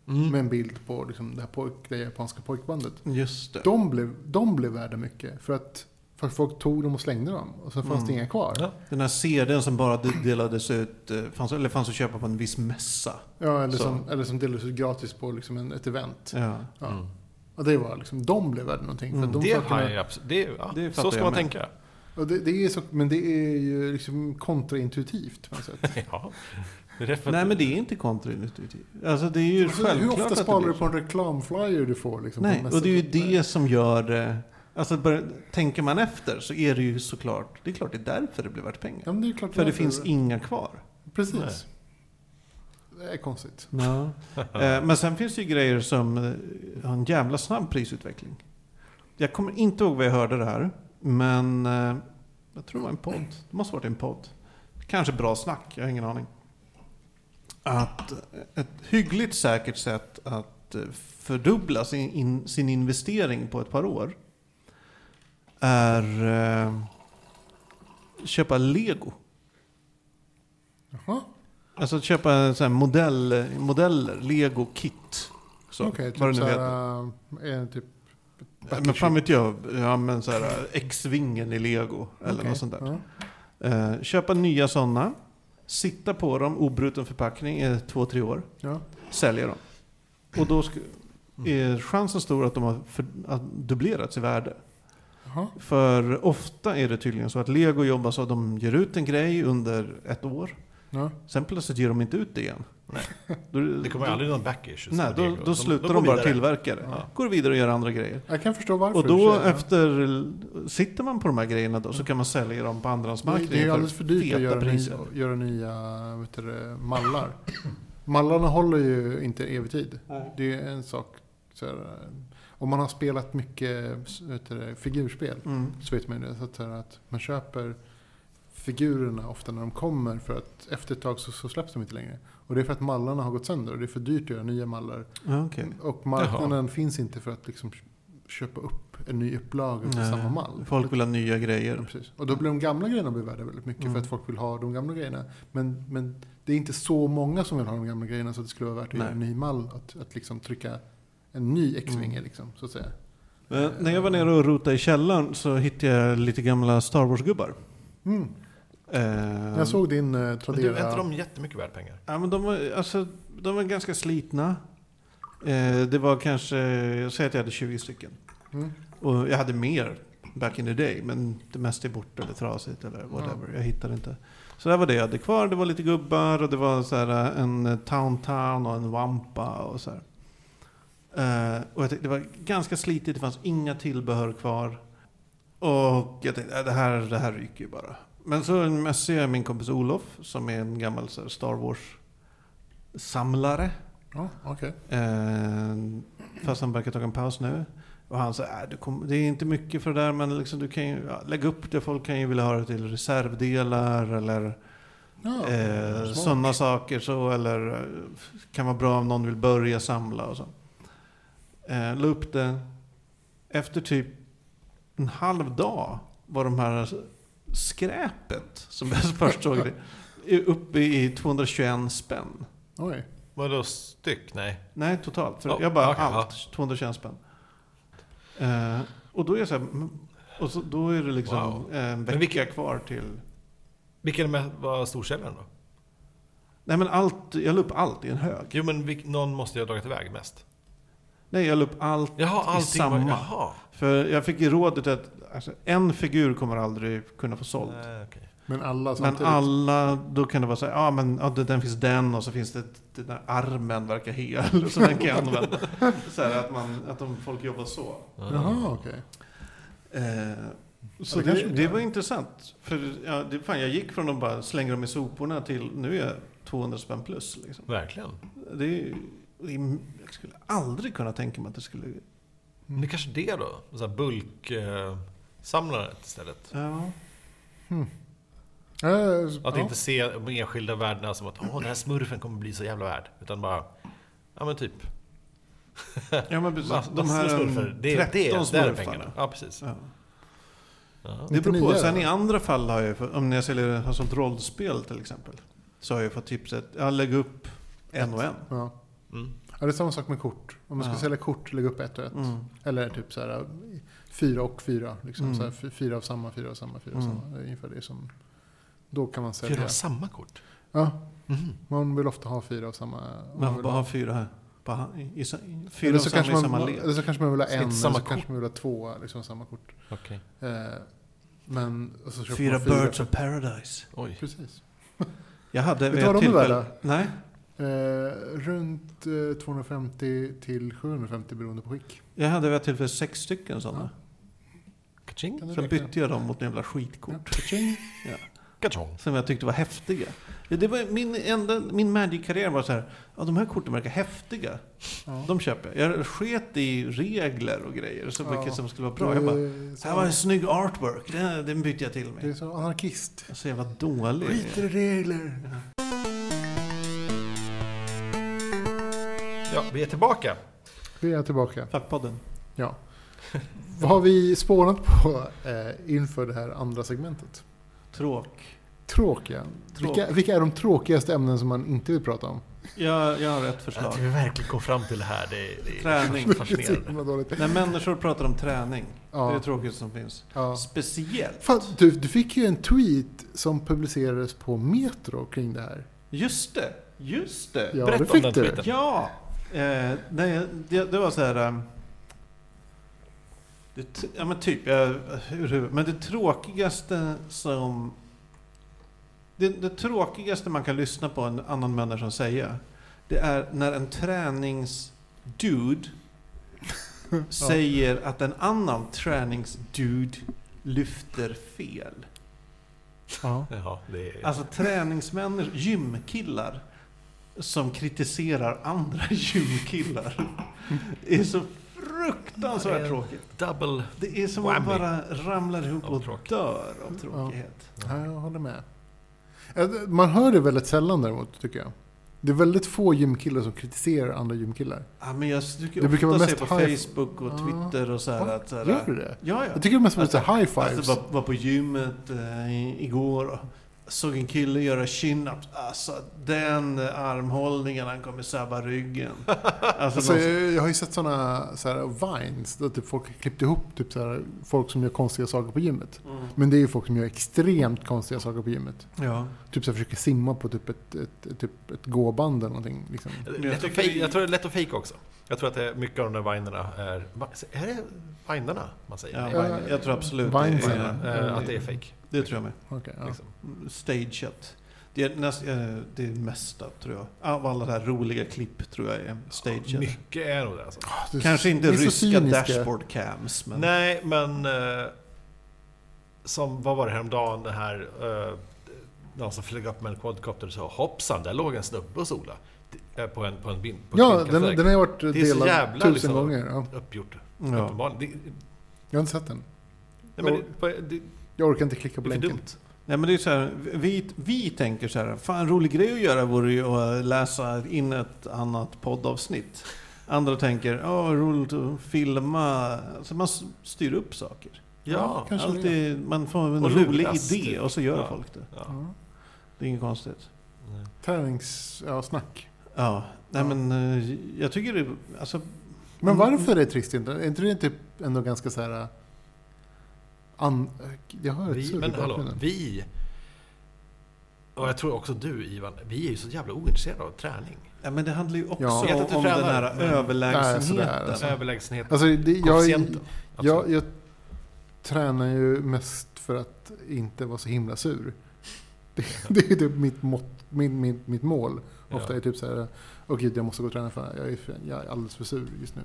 S1: Mm.
S3: Med en bild på liksom, det, här pojk, det japanska pojkbandet.
S2: Just det.
S3: De blev, de blev värda mycket för att, för att folk tog dem och slängde dem. Och sen
S1: Mm.
S3: fanns det inga kvar.
S1: Ja.
S2: Den här CDn som bara de- delades ut, eh, fanns, eller fanns att köpa på en viss mässa.
S3: Ja, eller,
S2: Så.
S3: som, eller som delades ut gratis på liksom en, ett event.
S2: Ja.
S3: Ja. Och det var liksom, de blev värda någonting. För
S2: Mm.
S3: att de
S1: Mm. Det har
S3: sakerna,
S1: jag absolut. Det, ja,
S2: Det fattar
S1: så ska
S2: jag
S1: man
S2: med.
S1: tänka.
S3: och det, det är så, men det är ju liksom kontraintuitivt på något sätt.
S1: Ja. Det är därför att-
S2: Nej men det är inte kontraintuitivt. Alltså det är ju
S3: Alltså,
S2: självklart
S3: hur ofta
S2: att det
S3: sparar
S2: blir
S3: du på en reklamflyer du får? Liksom, på
S2: Nej,
S3: en mässa?
S2: och det är ju det som gör det. Alltså bara, tänker man efter så är det ju såklart, det är klart det är därför det blir värt pengar.
S3: Ja, men det är klart
S2: För det
S3: därför.
S2: finns inga kvar.
S3: Precis. Det är konstigt.
S2: Ja. Eh, Men sen finns det ju grejer som eh, har en jävla snabb prisutveckling. Jag kommer inte ihåg vad jag hörde det här, men eh, jag tror det var en podd. Det måste ha varit en podd. Kanske bra snack, jag har ingen aning. Att eh, ett hyggligt säkert sätt att eh, fördubbla sin, in, sin investering på ett par år är eh, köpa lego.
S3: Jaha.
S2: Alltså att köpa så här modell, modeller, lego kit. Så,
S3: Okej,
S2: vad
S3: typ
S2: det nu heter.
S3: såhär... Äh, typ,
S2: Ja, Men fan vet jag, ja men så här äh, X-vingen i lego eller
S3: Okej,
S2: något sånt där.
S3: ja.
S2: Eh, köpa nya sådana, sitta på dem, obruten förpackning i två, tre år,
S3: Ja.
S2: sälja dem.
S3: Mm.
S2: Och då sk- är chansen stor att de har för, att dubblerats i värde.
S3: Jaha.
S2: För ofta är det tydligen så att Lego jobbar så att de ger ut en grej under ett år.
S3: Ja.
S2: Sen plötsligt ger de inte ut det igen.
S1: Nej.
S2: Då,
S1: Det kommer aldrig någon back issues.
S2: Nej,
S1: med
S2: då,
S1: Lego.
S2: då slutar de,
S1: går
S2: bara
S1: vidare.
S2: tillverka det.
S1: Ja.
S2: Går vidare och gör andra grejer.
S3: Jag kan förstå varför.
S2: Och
S3: i
S2: då
S3: och för sig.
S2: efter, sitter man på de här grejerna då så kan man sälja dem på
S3: Det,
S2: andrahandsmarknaden
S3: det är ju alldeles för dyrt att
S2: feta
S3: göra nya,
S2: priser.
S3: göra nya vet du, det, mallar. Mallarna håller ju inte evig tid.
S2: Nej.
S3: Det är en sak. Så här, om man har spelat mycket vet du, det, figurspel
S2: Mm.
S3: så vet man ju det. Så att, så här, att man köper figurerna ofta när de kommer för att efter ett tag så, så släpps de inte längre. Och det är för att mallarna har gått sönder och det är för dyrt att göra nya mallar.
S2: Ja, okej.
S3: Och marknaden finns inte för att liksom köpa upp en ny upplaga av
S2: Nej,
S3: samma mall.
S2: Folk vill ha nya
S3: Ja,
S2: grejer.
S3: precis. Och då blir de gamla grejerna blir värda väldigt mycket
S2: Mm.
S3: för att folk vill ha de gamla grejerna. Men, men det är inte så många som vill ha de gamla grejerna så det skulle vara värt att
S2: Nej.
S3: göra en ny mall. Att, att liksom trycka en ny X-vinge liksom, så att säga. Mm.
S2: Men Mm. Eh, när jag var nere och rotade i källaren så hittade jag lite gamla Star Wars-gubbar.
S3: Mm.
S2: Eh,
S3: Jag såg din
S1: Men
S3: eh,
S1: du, är inte
S3: Tradera.
S1: de jättemycket värd pengar?
S2: Ja, men de, var, alltså, de var ganska slitna. Eh, det var kanske, jag säger att jag hade 20 stycken.
S3: Mm.
S2: Och jag hade mer back in the day, men det mesta är borta eller trasigt eller whatever. Jag hittade inte. Så det här var det jag hade kvar. Det var lite gubbar och det var så här, eh, en eh, Town Town och en Wampa och så här. Eh, och jag tänkte, det var ganska slitigt, det fanns inga tillbehör kvar. Och jag tänkte, äh, det här, det här ryker ju bara. Men så mössade jag min kompis Olof, som är en gammal så här, Star Wars-samlare.
S3: Ja, okej.
S2: Eh, fast han verkar ta en paus nu. Och han sa, äh, du kom, det är inte mycket för det där men liksom, du kan ju ja, lägga upp det. Folk kan ju vilja ha det till reservdelar eller
S3: Ja,
S2: eh,
S3: smart.
S2: sådana saker. Så, eller eh, kan vara bra om någon vill börja samla och så. Eh, la upp det. Efter typ en halv dag var de här skräpet som jag först såg det uppe i 221 spänn.
S3: Oj.
S1: Vadå styck? Nej.
S2: Nej, totalt. För
S1: Ja,
S2: jag bara
S1: okej,
S2: allt. 220 spänn. Eh, och då är jag så här, mm, och så, då är det liksom
S1: Wow.
S2: eh, en vecka
S1: Men vilka-
S2: kvar till...
S1: Vilken med- var storsäljaren då?
S2: Nej men allt, jag la upp allt i en hög.
S1: Jo, men vilk, någon måste ju ha dragit iväg mest.
S2: Nej, jag la upp allt
S1: Jaha,
S2: i
S1: allting
S2: samma.
S1: var... Jaha.
S2: För jag fick ju rådet att alltså, en figur kommer aldrig kunna få såld.
S1: Nej, okej.
S3: Men alla samtidigt.
S2: Men alla, då kan det vara så här, ja men ja, det- den finns den och så finns det den där armen verkar hel. Så den kan jag använda. Så här, att, man, att de, folk jobbar så.
S3: Jaha, okej.
S2: Eh, så
S3: det
S2: det,
S3: kanske
S2: det,
S3: inte är.
S2: var intressant. För ja, det, fan, jag gick från att bara slänga dem i soporna till nu är jag 200 spänn plus. Liksom.
S1: Verkligen.
S2: Det är, ju- det är, jag skulle aldrig kunna tänka mig att det skulle...
S1: Men det är kanske det då? Så här bulk... Eh, samlandet istället.
S2: Ja.
S3: Ja, ja, Eh, ja.
S1: Att inte se de enskilda värdena som att åh, den här smurfen kommer bli så jävla värd. Utan bara, ja men typ.
S2: ja, men precis.
S1: mass-
S2: De
S1: massor
S2: här
S1: av
S2: um,
S1: smurfer.
S2: 13
S1: Det, det, det är där pengarna.
S2: smurfarna.
S1: Ja, precis.
S2: Ja.
S1: Ja.
S2: Det beror på.
S3: 99
S2: Sen
S3: då?
S2: i andra fall har jag ju- om när jag säljer, har sålt rollspel till exempel. Så har jag fått tipset, jag lägger upp en och en.
S3: Ja.
S1: Mm.
S3: Ja, det är samma sak med kort. Om man ska
S2: Ja.
S3: sälja kort, lägg upp ett och ett.
S2: Mm.
S3: Eller typ så här, fyra och fyra. Liksom,
S2: Mm.
S3: så här, fy- fyra av samma, fyra av samma, fyra av
S2: Mm.
S3: samma. Det är Ungefär det som... Då kan man
S1: Fyra
S3: sälja.
S1: av samma kort?
S3: Ja,
S1: Mhm.
S3: man vill ofta ha fyra av samma. om
S2: Man får
S3: vill
S2: bara
S3: ha-
S2: ha fyra här. Bara, i, i, i, fyra
S3: eller,
S2: av
S3: så
S2: samma
S3: kanske
S2: i
S3: man,
S2: samma led.
S3: eller så kanske man vill ha
S1: Ska
S3: en,
S1: inte
S3: eller så
S1: samma
S3: kanske man vill ha två liksom, samma kort.
S1: Okej.
S3: Eh, men, och så köper
S2: Fyra
S3: man
S2: birds of paradise.
S1: Oj.
S3: Precis.
S2: Jag hade
S3: Vet
S2: vid
S3: du
S2: ett
S3: vad de är
S2: tillfälle-
S3: värda?
S2: Nej.
S3: Eh, runt eh, 250 till 750 beroende på skick.
S2: Jag hade vid ett tillfälle sex stycken sådana.
S1: Kaching.
S3: Kan du
S2: Sen
S3: räkna?
S2: bytte jag dem mot jävla skitkort.
S3: Ja, ka-ching.
S1: Kachong.
S2: Som jag tyckte var häftiga. Ja, Det var min, enda, min Magic-karriär var så här. Ja, de här korten verkar häftiga.
S3: Ja.
S2: De köper jag. Jag sket i regler och grejer. Så
S3: Ja.
S2: mycket som skulle vara bra. Jag bara,
S3: Eh,
S2: det
S3: så-
S2: här var en snygg artwork. Den, den bytte jag till
S3: Det är
S2: mig.
S3: så anarkist.
S2: Så jävla dålig.
S3: Skiter i regler.
S1: Ja, vi är tillbaka.
S3: Vi är tillbaka.
S2: Fackpodden.
S3: Ja. Vad har vi spånat på eh, inför det här andra segmentet?
S2: Tråk.
S3: Tråkiga.
S2: Tråk.
S3: Vilka, vilka är de tråkigaste ämnen som man inte vill prata om?
S2: Jag, jag har ett förslag.
S1: Att vi verkligen kom fram till det här, det är, det är
S2: Träning.
S3: Det är så
S1: fascinerande.
S3: himla dåligt.
S2: När människor pratar om träning. Det är
S3: Ja,
S2: det tråkigaste som finns.
S3: ja.
S2: Speciellt.
S3: Fan, du, du fick ju en tweet som publicerades på Metro kring det här.
S2: Just det, just det.
S3: Ja,
S1: Berätta
S3: det
S1: om
S3: fick
S1: den
S3: du.
S1: tweeten.
S2: Ja, eh, nej, det, det var så här. eh, Det, t- ja men typ, jag, hur, hur, men det tråkigaste som... Det, det tråkigaste man kan lyssna på en annan människa säga, det är när en träningsdude säger att en annan träningsdude lyfter fel.
S3: Ja.
S1: Ja, det är...
S2: Alltså träningsmänniskor, gymkillar som kritiserar andra gymkillar. Det är så
S1: Ja,
S2: fruktansvärt
S1: det-
S2: tråkigt.
S1: Double...
S2: Det är som att man
S1: Whammy.
S2: bara ramlar ihop
S1: Av
S2: och
S1: tråkigt.
S2: dör av tråkighet.
S3: Ja, jag håller med. Eh, Man hör det väldigt sällan däremot, tycker jag. Det är väldigt få gymkillar som kritiserar andra gymkillar.
S2: Ja, men jag tycker
S3: Det brukar vara
S2: ofta se
S3: mest
S2: på
S3: high-
S2: Facebook och
S3: Ja.
S2: Twitter och så här
S3: Ja,
S2: att... Så här,
S3: Gör du det?
S2: Ja, ja.
S3: Jag tycker det mest var
S2: Alltså,
S3: lite high-fives.
S2: Alltså, var, var på gymmet eh, i- igår och såg en kille göra chin-ups. Alltså den armhållningen, han kommer sabba ryggen. Alltså,
S3: Alltså,
S2: någon-
S3: jag, jag har ju sett sådana så här, vines där typ folk har klippt ihop typ, så här, folk som gör konstiga saker på gymmet.
S2: Mm.
S3: Men det är ju folk som gör extremt konstiga saker på gymmet.
S2: Ja.
S3: Typ så här, försöker simma på typ ett, ett, typ ett gåband eller någonting. Liksom.
S2: jag
S1: lätt att
S2: tycker
S1: fejk-
S2: vi-
S1: jag tror det är lätt att fejka också. Jag tror att det är mycket av de där vinerna är... Va- Är det vinerna man säger?
S2: Ja,
S1: Nej,
S2: Vine- jag tror absolut
S3: Vines
S2: det,
S3: är
S2: är,
S1: eh, att det är fake.
S2: det tror jag med.
S3: Okej, ja.
S1: Liksom.
S2: Stageat. Det är, näst, eh, det är mesta tror jag. Av alla de här roliga klipp tror jag är stageat.
S1: Mycket är nog det alltså.
S3: Ah, det är
S2: Kanske
S3: så-
S2: inte
S3: ni är så
S2: ryska
S3: cyniska.
S2: dashboard cams. Men
S1: Nej, men... Eh, som, vad var det häromdagen, det här... Eh, någon som flög upp med en quadcopter och sa hoppsan, där låg en snubbe och sola. Eh, På en, på en bin, på
S3: Ja,
S1: ett
S3: den, den har ju varit
S1: är så
S3: delad
S1: jävla,
S3: tusen
S1: liksom-
S3: gånger. Ja.
S1: Uppgjort,
S2: ja.
S1: uppenbarligen. Det,
S3: Jag har inte sett den.
S1: nej, men det, på- det, det
S3: Jag orkar inte klicka på
S1: är för
S3: länken.
S1: dumt.
S2: Nej, men det är så här, vi, vi tänker så här, fan en rolig grej att göra vore ju att läsa in ett annat poddavsnitt. Andra tänker, ja roligt att filma. Alltså man s- styr upp saker.
S1: Ja,
S3: kanske det.
S2: Alltid, man får en
S1: Och
S2: rolig
S1: roligast,
S2: idé
S1: typ.
S2: och så gör
S1: Ja.
S2: folk det.
S1: Ja.
S3: Ja.
S2: Det är inget konstigt.
S1: Nej.
S3: Tärnings, ja, snack.
S2: Ja, nej
S3: Ja.
S2: men eh, jag tycker det, alltså,
S3: Men
S2: Mm.
S3: varför är det trist inte? Är inte det typ ändå ganska så här... eh, An... Jag hör ett
S1: Vi,
S3: surr i
S1: men hallå,
S3: bakgrunden.
S1: vi... Och jag tror också du Ivan, vi är ju så jävla ointresserade av träning.
S2: ja, men det handlar ju också
S3: Ja. Jag
S1: vet att du
S2: om den
S1: tränar,
S2: här
S1: men-
S3: Nej, sådär,
S2: överlägsenheten.
S3: alltså.
S1: Överlägsenhet,
S3: Alltså, det, jag,
S1: koefficienten.
S3: jag, jag tränar ju mest för att inte vara så himla sur. Det, det är typ mitt, mått, min, min, mitt mål. Ofta är typ så här, åh gud jag måste gå och träna för jag är, för, jag är alldeles för sur just nu.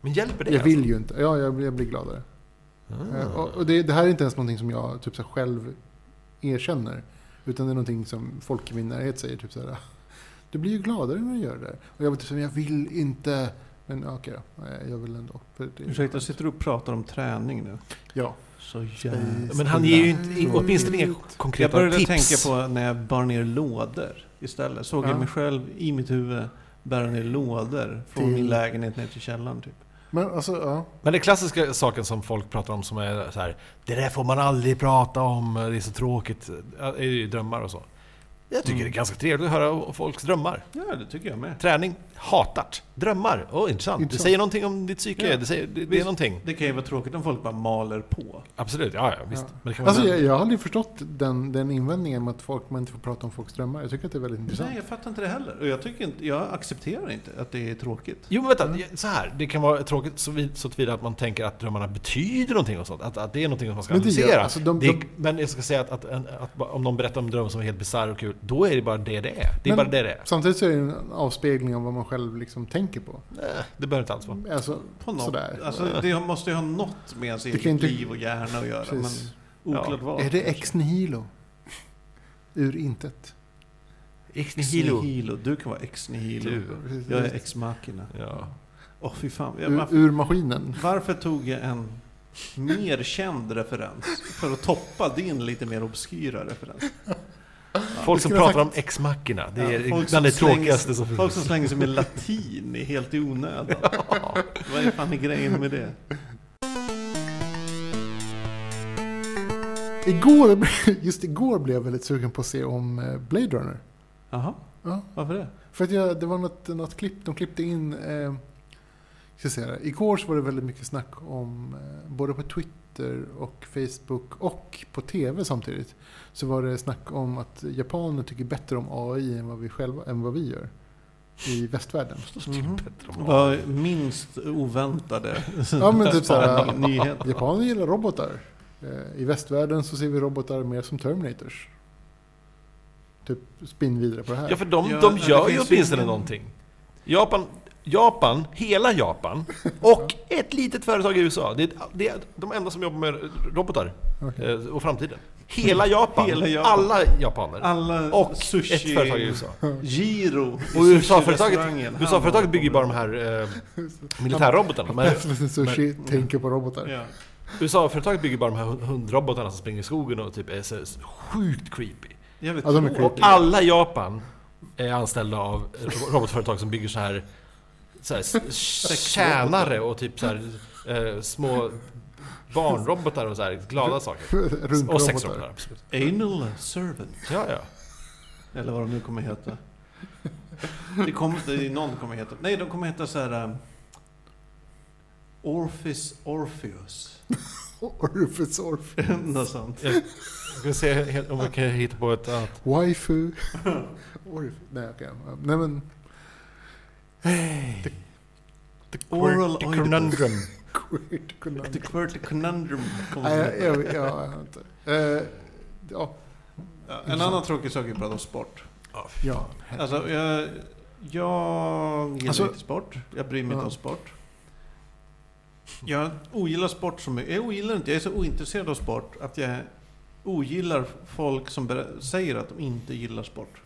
S1: Men hjälper det?
S3: jag vill ju inte, ja jag, blir- jag blir gladare.
S1: alltså?
S3: Eh,
S1: Ah.
S3: Och, och det, det här är inte ens någonting som jag typ så här, själv erkänner. Utan det är någonting som folk i min närhet säger. Typ så här, du blir ju gladare när du gör det. där." Och jag var typ så här, jag vill inte. Men ja, okej då, Eh, jag vill ändå. För det,
S2: Ursäkta, sitter du och pratar om träning nu?
S3: Ja.
S2: Så jävla...
S1: Men han ger ju inte, åtminstone inga konkreta
S2: Jag började
S1: tips.
S2: tänka på när jag bar ner lådor istället. Såg
S3: Ja.
S2: jag mig själv i mitt huvud bära ner lådor från
S3: Till-
S2: min lägenhet ner till källaren typ.
S3: Men alltså, ja.
S1: Men den klassiska saken som folk pratar om som är så här, det där får man aldrig prata om, det är så tråkigt, Ja, det är ju drömmar och så. Jag tycker
S2: Mm.
S1: det är ganska trevligt att höra om folks drömmar.
S2: Ja, det tycker jag med.
S1: Träning, hatat. Drömmar, åh intressant. Det
S3: Intressant.
S1: säger någonting om ditt psyke,
S2: Ja.
S1: det, säger, det, det är
S2: Visst.
S1: någonting.
S2: Det kan ju vara tråkigt om folk bara maler på.
S1: Absolut, ja, ja visst.
S3: Ja.
S1: Men det kan vara
S3: alltså jag, jag har aldrig förstått den, den invändningen med att folk, man inte får prata om folks drömmar. Jag tycker att det är väldigt intressant.
S2: Nej, jag fattar inte det heller. Och jag, tycker inte, jag accepterar inte att det är tråkigt.
S1: Jo men vänta,
S3: Mm.
S1: jag- så här. Det kan vara tråkigt så vid- så tillvida att man tänker att drömmarna betyder någonting och sånt. Att, att det är någonting som man ska
S3: Men det gör-
S1: analysera.
S3: alltså, de-
S1: det är,
S3: de-
S1: men jag ska säga att, att, en, att ba- om någon berättar om en dröm som är helt bisarr och kul, då är det bara det det är. Det är
S3: Men-
S1: bara det det är.
S3: Samtidigt så är det en avspegling av vad man själv liksom tänker på.
S1: Nej, Det behöver inte alls vara.
S3: Alltså,
S2: På något.
S3: Sådär.
S2: Alltså, det måste ju ha något med ens
S3: Det kan
S2: eget
S3: inte-
S2: liv och hjärna att göra. Men
S3: precis.
S2: oklart vad.
S3: är det
S2: kanske.
S3: ex nihilo? Ur intet.
S1: Ex
S2: Ex nihilo. Du kan vara ex
S1: Du.
S2: nihilo.
S3: Precis.
S2: Jag är ex machina.
S1: Ja.
S2: Åh fy fan. Jag,
S3: ur, ur maskinen.
S2: Varför tog jag en mer känd referens för att toppa din lite mer obskyra referens?
S1: Folk
S3: det
S1: som
S3: skulle jag
S1: pratar om ex machina det är
S2: Ja, folk som
S1: bland det
S2: slänger-
S1: tråkigaste som
S2: Folk
S1: finns.
S2: som slänger sig med latin är helt i onödan. Vad är fan grejen med det?
S3: Igår, just igår blev jag väldigt sugen på att se om eh, Blade Runner.
S2: Jaha,
S3: Ja.
S2: varför det?
S3: För att jag, det var något, något klipp, de klippte in... Eh, ska jag säga det. Igår så var det väldigt mycket snack om, eh, både på Twitter och Facebook och på TV samtidigt, så var det snack om att japaner tycker bättre om AI än vad vi, själva, än vad vi gör. i västvärlden.
S1: Typ
S2: Mhm. Vad minst oväntade
S3: Ja, men typ så här,
S2: nyhet.
S3: Japaner gillar robotar. Eh, I västvärlden så ser vi robotar mer som Terminators. Typ spinn vidare på det här.
S1: Ja, för de,
S2: Ja,
S1: de
S2: det
S1: gör ju
S2: finns ju
S1: åtminstone
S2: ingen-
S1: någonting. Japan, Japan, hela Japan och ett litet företag i USA. Det är, det är de enda som jobbar med robotar
S3: Okej.
S1: eh, och framtiden. Hela Japan,
S2: Hela Japan. Ah,
S1: alla japaner.
S2: Alla
S1: och
S2: sushi...
S1: ett företag i USA.
S2: Giro.
S1: Och USA-företaget USA bygger ju bara de här eh, militärrobotarna. De här-
S3: Pathless and Sushi tänker på robotar.
S2: Ja.
S1: USA-företaget bygger bara de här hund- hundrobotarna som springer i skogen och typ är så sjukt creepy.
S2: Jävligt
S3: Ja, de är
S2: tråkigt.
S1: Och
S3: creepy.
S1: alla i Japan är anställda av ro- robotföretag som bygger så här, så här s- tjänare och typ så här, eh, små barnrobotar och så här glada saker.
S3: Runt
S1: Och
S3: robotar.
S1: sexrobotar, absolut.
S2: Anal servant.
S1: Ja, ja.
S2: Eller vad de nu kommer heta. Det kommer, det är någon kommer heta. Nej, de kommer heta så här... Um, Orphis Orpheus.
S3: Orfus Orf.
S2: Något sånt.
S1: Vi ska se he- om vi kan hitta på ett annat.
S3: Waifu. Orf. Nej, okej. Nej, men... Hey. The, the quirk-
S2: Oral
S1: The
S2: Oidipus.
S1: Conundrum.
S3: quirk- conundrum.
S2: The Quirty Conundrum. kommer
S3: Nej,
S2: de
S3: jag,
S2: heta.
S3: jag, jag, jag vet inte. Eh, ja,
S2: Ja, En annan tråkig sak är att prata om sport.
S3: ja.
S2: Alltså, jag, jag gillar
S3: Alltså-
S2: inte sport. Jag bryr mig inte
S3: Ja.
S2: om sport. Jag ogillar sport så mycket. Jag ogillar inte. Jag är så ointresserad av sport att jag ogillar folk som ber- säger att de inte gillar sport.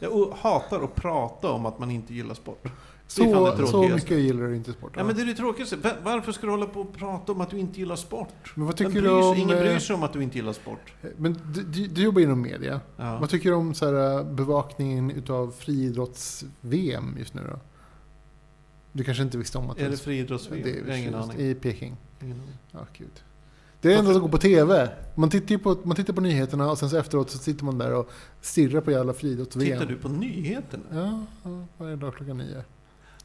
S2: Jag o- hatar att prata om att man inte gillar sport. fan det
S3: Så, så
S2: tråkigaste.
S3: mycket gillar du inte sport.
S2: Ja, men det är det tråkigaste. Va- Varför ska du hålla på och prata om att du inte gillar sport?
S3: Men vad
S2: Vem
S3: tycker
S2: bryr
S3: du om...
S2: sig, ingen
S3: eh,
S2: bryr sig om att du inte gillar sport.
S3: Men du, du, du jobbar inom media.
S2: Ja.
S3: Vad tycker du om så här, eh, bevakningen utav friidrotts-VM just nu då? Du kanske inte visste om att
S2: Är det friidrotts-VM? Jag har ingen aning.
S3: I Peking.
S2: Ingen aning.
S3: Ja, gud. Det är det enda som går på TV. Man tittar ju på, man tittar på nyheterna och sen så efteråt så sitter man där och stirrar på jävla friidrotts-VM.
S2: Tittar du på nyheterna?
S3: Ja, ja, varje dag klockan nio.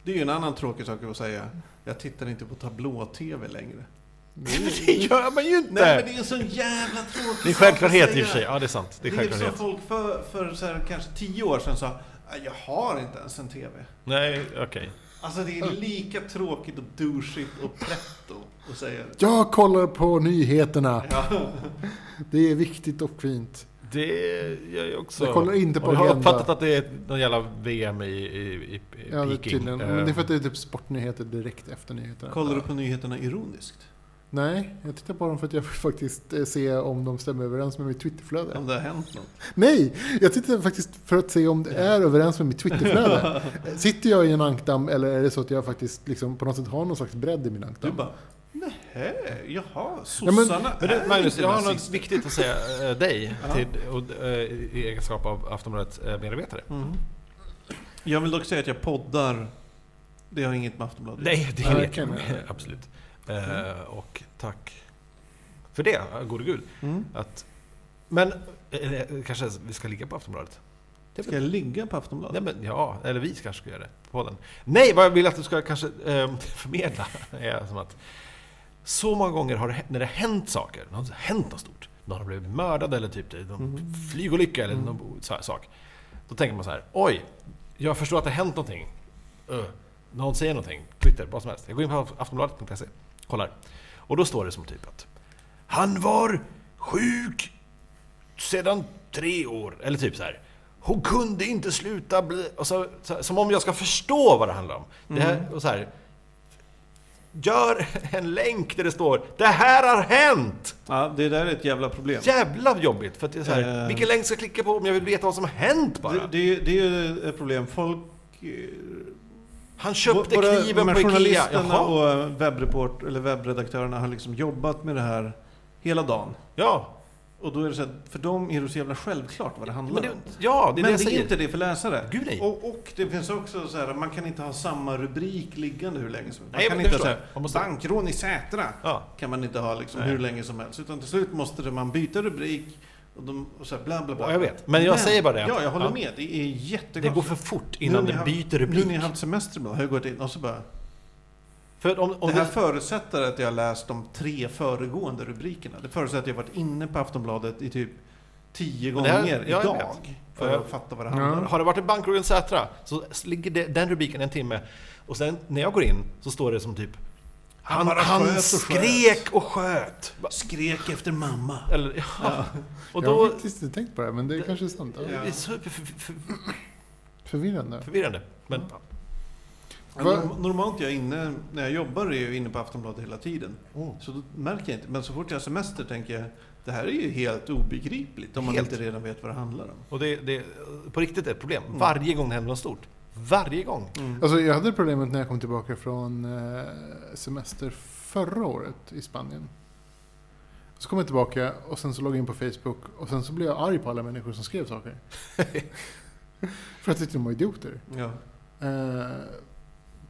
S2: Det är ju en annan tråkig sak att säga. Jag tittar inte på tablå-tv längre.
S1: Det gör man ju
S2: Nej, men
S1: inte!
S2: det är en sån jävla tråkig sak
S1: Det är
S2: att
S1: självklarhet i och
S2: säga.
S1: för sig. Ja, det är sant. Det är
S2: som
S1: självklarhet.
S2: folk för, för så här, kanske tio år sedan sa, "Ah, jag har inte ens en tv.
S1: Nej, okej.
S2: Alltså det är
S1: Mm.
S2: lika tråkigt och douchigt och pretto att säga det.
S3: Jag kollar på nyheterna.
S2: Ja.
S3: Det är viktigt och fint.
S1: Det gör jag också.
S3: Jag kollar inte på
S1: Och jag har
S3: Agenda.
S1: uppfattat att det är någon jävla VM i, i, i, i
S3: Ja, det är
S1: Peking.
S3: tydligen.
S1: Eh,
S3: Men det är för att det är typ sportnyheter direkt efter nyheterna.
S2: Kollar du på nyheterna ironiskt?
S3: Nej, jag tittar på dem för att jag vill faktiskt eh, se om de stämmer överens med mitt Twitterflöde.
S2: Om det har hänt något?
S3: Nej, jag tittar faktiskt för att se om det är överens med mitt Twitterflöde. Eh, Sitter jag i en ankdamm eller är det så att jag faktiskt liksom på något sätt har någon slags bredd i min
S2: Du
S3: ankdamm?
S2: bara, nej, jaha,
S3: men-
S2: sossarna
S1: Men du,
S2: är
S1: Magnus,
S2: inte
S1: jag har något
S2: nazister.
S1: viktigt att säga eh, dig
S2: Ja.
S1: till, och, eh, i egenskap av eh, Aftonbladet-medarbetare.
S2: Mm. Jag vill dock säga att jag poddar. Det har inget med Aftonbladet
S1: Nej, det
S3: Ja,
S1: vet jag.
S3: kan jag.
S1: Absolut. Eh, Och tack för det, gode gud.
S2: Mm.
S1: Att, men eh, eh, kanske vi ska ligga på Aftonbladet? Det är
S2: Ska jag ligga på Aftonbladet?
S1: Nej, men, ja, eller vi kanske ska göra det på podden. Nej, vad jag vill att du ska kanske eh, förmedla är som att så många gånger har det, hä- när det har hänt saker, när det har hänt något stort, någon har blivit mördad eller typ det är någon flygolycka eller någon så här sak. Då tänker man så här, oj, jag förstår att det har hänt någonting. Uh, någon säger någonting, Twitter, vad som helst. Jag går in på aftonbladet.se, kollar. Och då står det som typ att han var sjuk sedan tre år. Eller typ så här. Hon kunde inte sluta bli... Och så, så, som om jag ska förstå vad det handlar om. Det här, och så här, gör en länk där det står Det här har hänt!
S2: Ja, det där är ett jävla problem.
S1: Jävla jobbigt! För att det är så här,
S2: Eh.
S1: vilken länk ska jag klicka på om jag vill veta vad som har hänt bara?
S2: Det, det, är ju- det är ju ett problem. Folk... eh,
S1: Han köpte
S2: både-
S1: kniven
S2: men
S1: på Ikea.
S2: Journalisterna
S1: Jaha.
S2: och webbreport, eller webbredaktörerna har liksom jobbat med det här hela dagen.
S1: Ja,
S2: Och då är det så att för dem är det så jävla självklart vad det handlar
S1: men det,
S2: om.
S1: ja, det är
S2: men
S1: det jag
S2: det är
S1: säger.
S2: inte det för läsare.
S1: Gud, nej.
S2: Och, och det finns också så här, man kan inte ha samma rubrik liggande hur länge som helst. Man
S1: Nej,
S2: kan
S1: men det
S2: inte
S1: förstår
S2: så
S1: jag.
S2: här,
S1: Man måste-
S2: bankrån i Sätra
S1: Ja.
S2: kan man inte ha liksom
S1: Nej.
S2: hur länge som helst. Utan till slut måste det, man byta rubrik och, de, och så här, bla bla bla.
S1: Ja, jag vet. Men jag säger bara det.
S2: Ja, jag håller
S1: Ja.
S2: med. Det är jättekonstigt.
S1: Det går för fort
S2: Nu
S1: innan
S2: när
S1: det
S2: jag-
S1: byter
S2: Nu
S1: rubrik.
S2: när jag har haft semester ibland har jag gått in och så bara...
S1: För att om, om
S2: det här
S1: det-
S2: förutsätter att jag har läst de tre föregående rubrikerna. Det förutsätter att jag har varit inne på Aftonbladet i typ tio
S1: Men det här-
S2: gånger
S1: ja, jag
S2: idag.
S1: vet.
S2: För
S1: Ja.
S2: att fatta vad det handlar om.
S1: Har det varit en bankrån Sätra så ligger det, den rubriken en timme. Och sen när jag går in så står det som typ Han,
S2: bara
S1: han,
S2: sköt och
S1: skrek och sköt.
S2: Skrek efter mamma.
S1: Eller, ja. Och
S3: Jag har
S1: då...
S3: faktiskt inte tänkt på det, här, men det,
S1: Det-
S3: kanske är sant. Ja.
S1: Det är så för- för- för-
S3: Förvirrande.
S1: förvirrande. Men ja.
S2: Ja,
S3: Vad-
S2: norm- Normalt jag är inne, när jag jobbar är jag inne på Aftonbladet hela tiden.
S1: Oh.
S2: Så då märker jag inte. Men så fort jag har semester tänker jag, det här är ju helt obegripligt om man
S1: Helt.
S2: inte redan vet vad det handlar om.
S1: Och det, det på riktigt är ett problem. Varje gång det händer något stort. Varje gång.
S2: Mm.
S3: Alltså, jag hade problemet när jag kom tillbaka från eh, semester förra året i Spanien. Så kom jag tillbaka och sen så loggade jag in på Facebook och sen så blev jag arg på alla människor som skrev saker. För att jag tyckte de var idioter.
S2: Ja.
S3: Eh,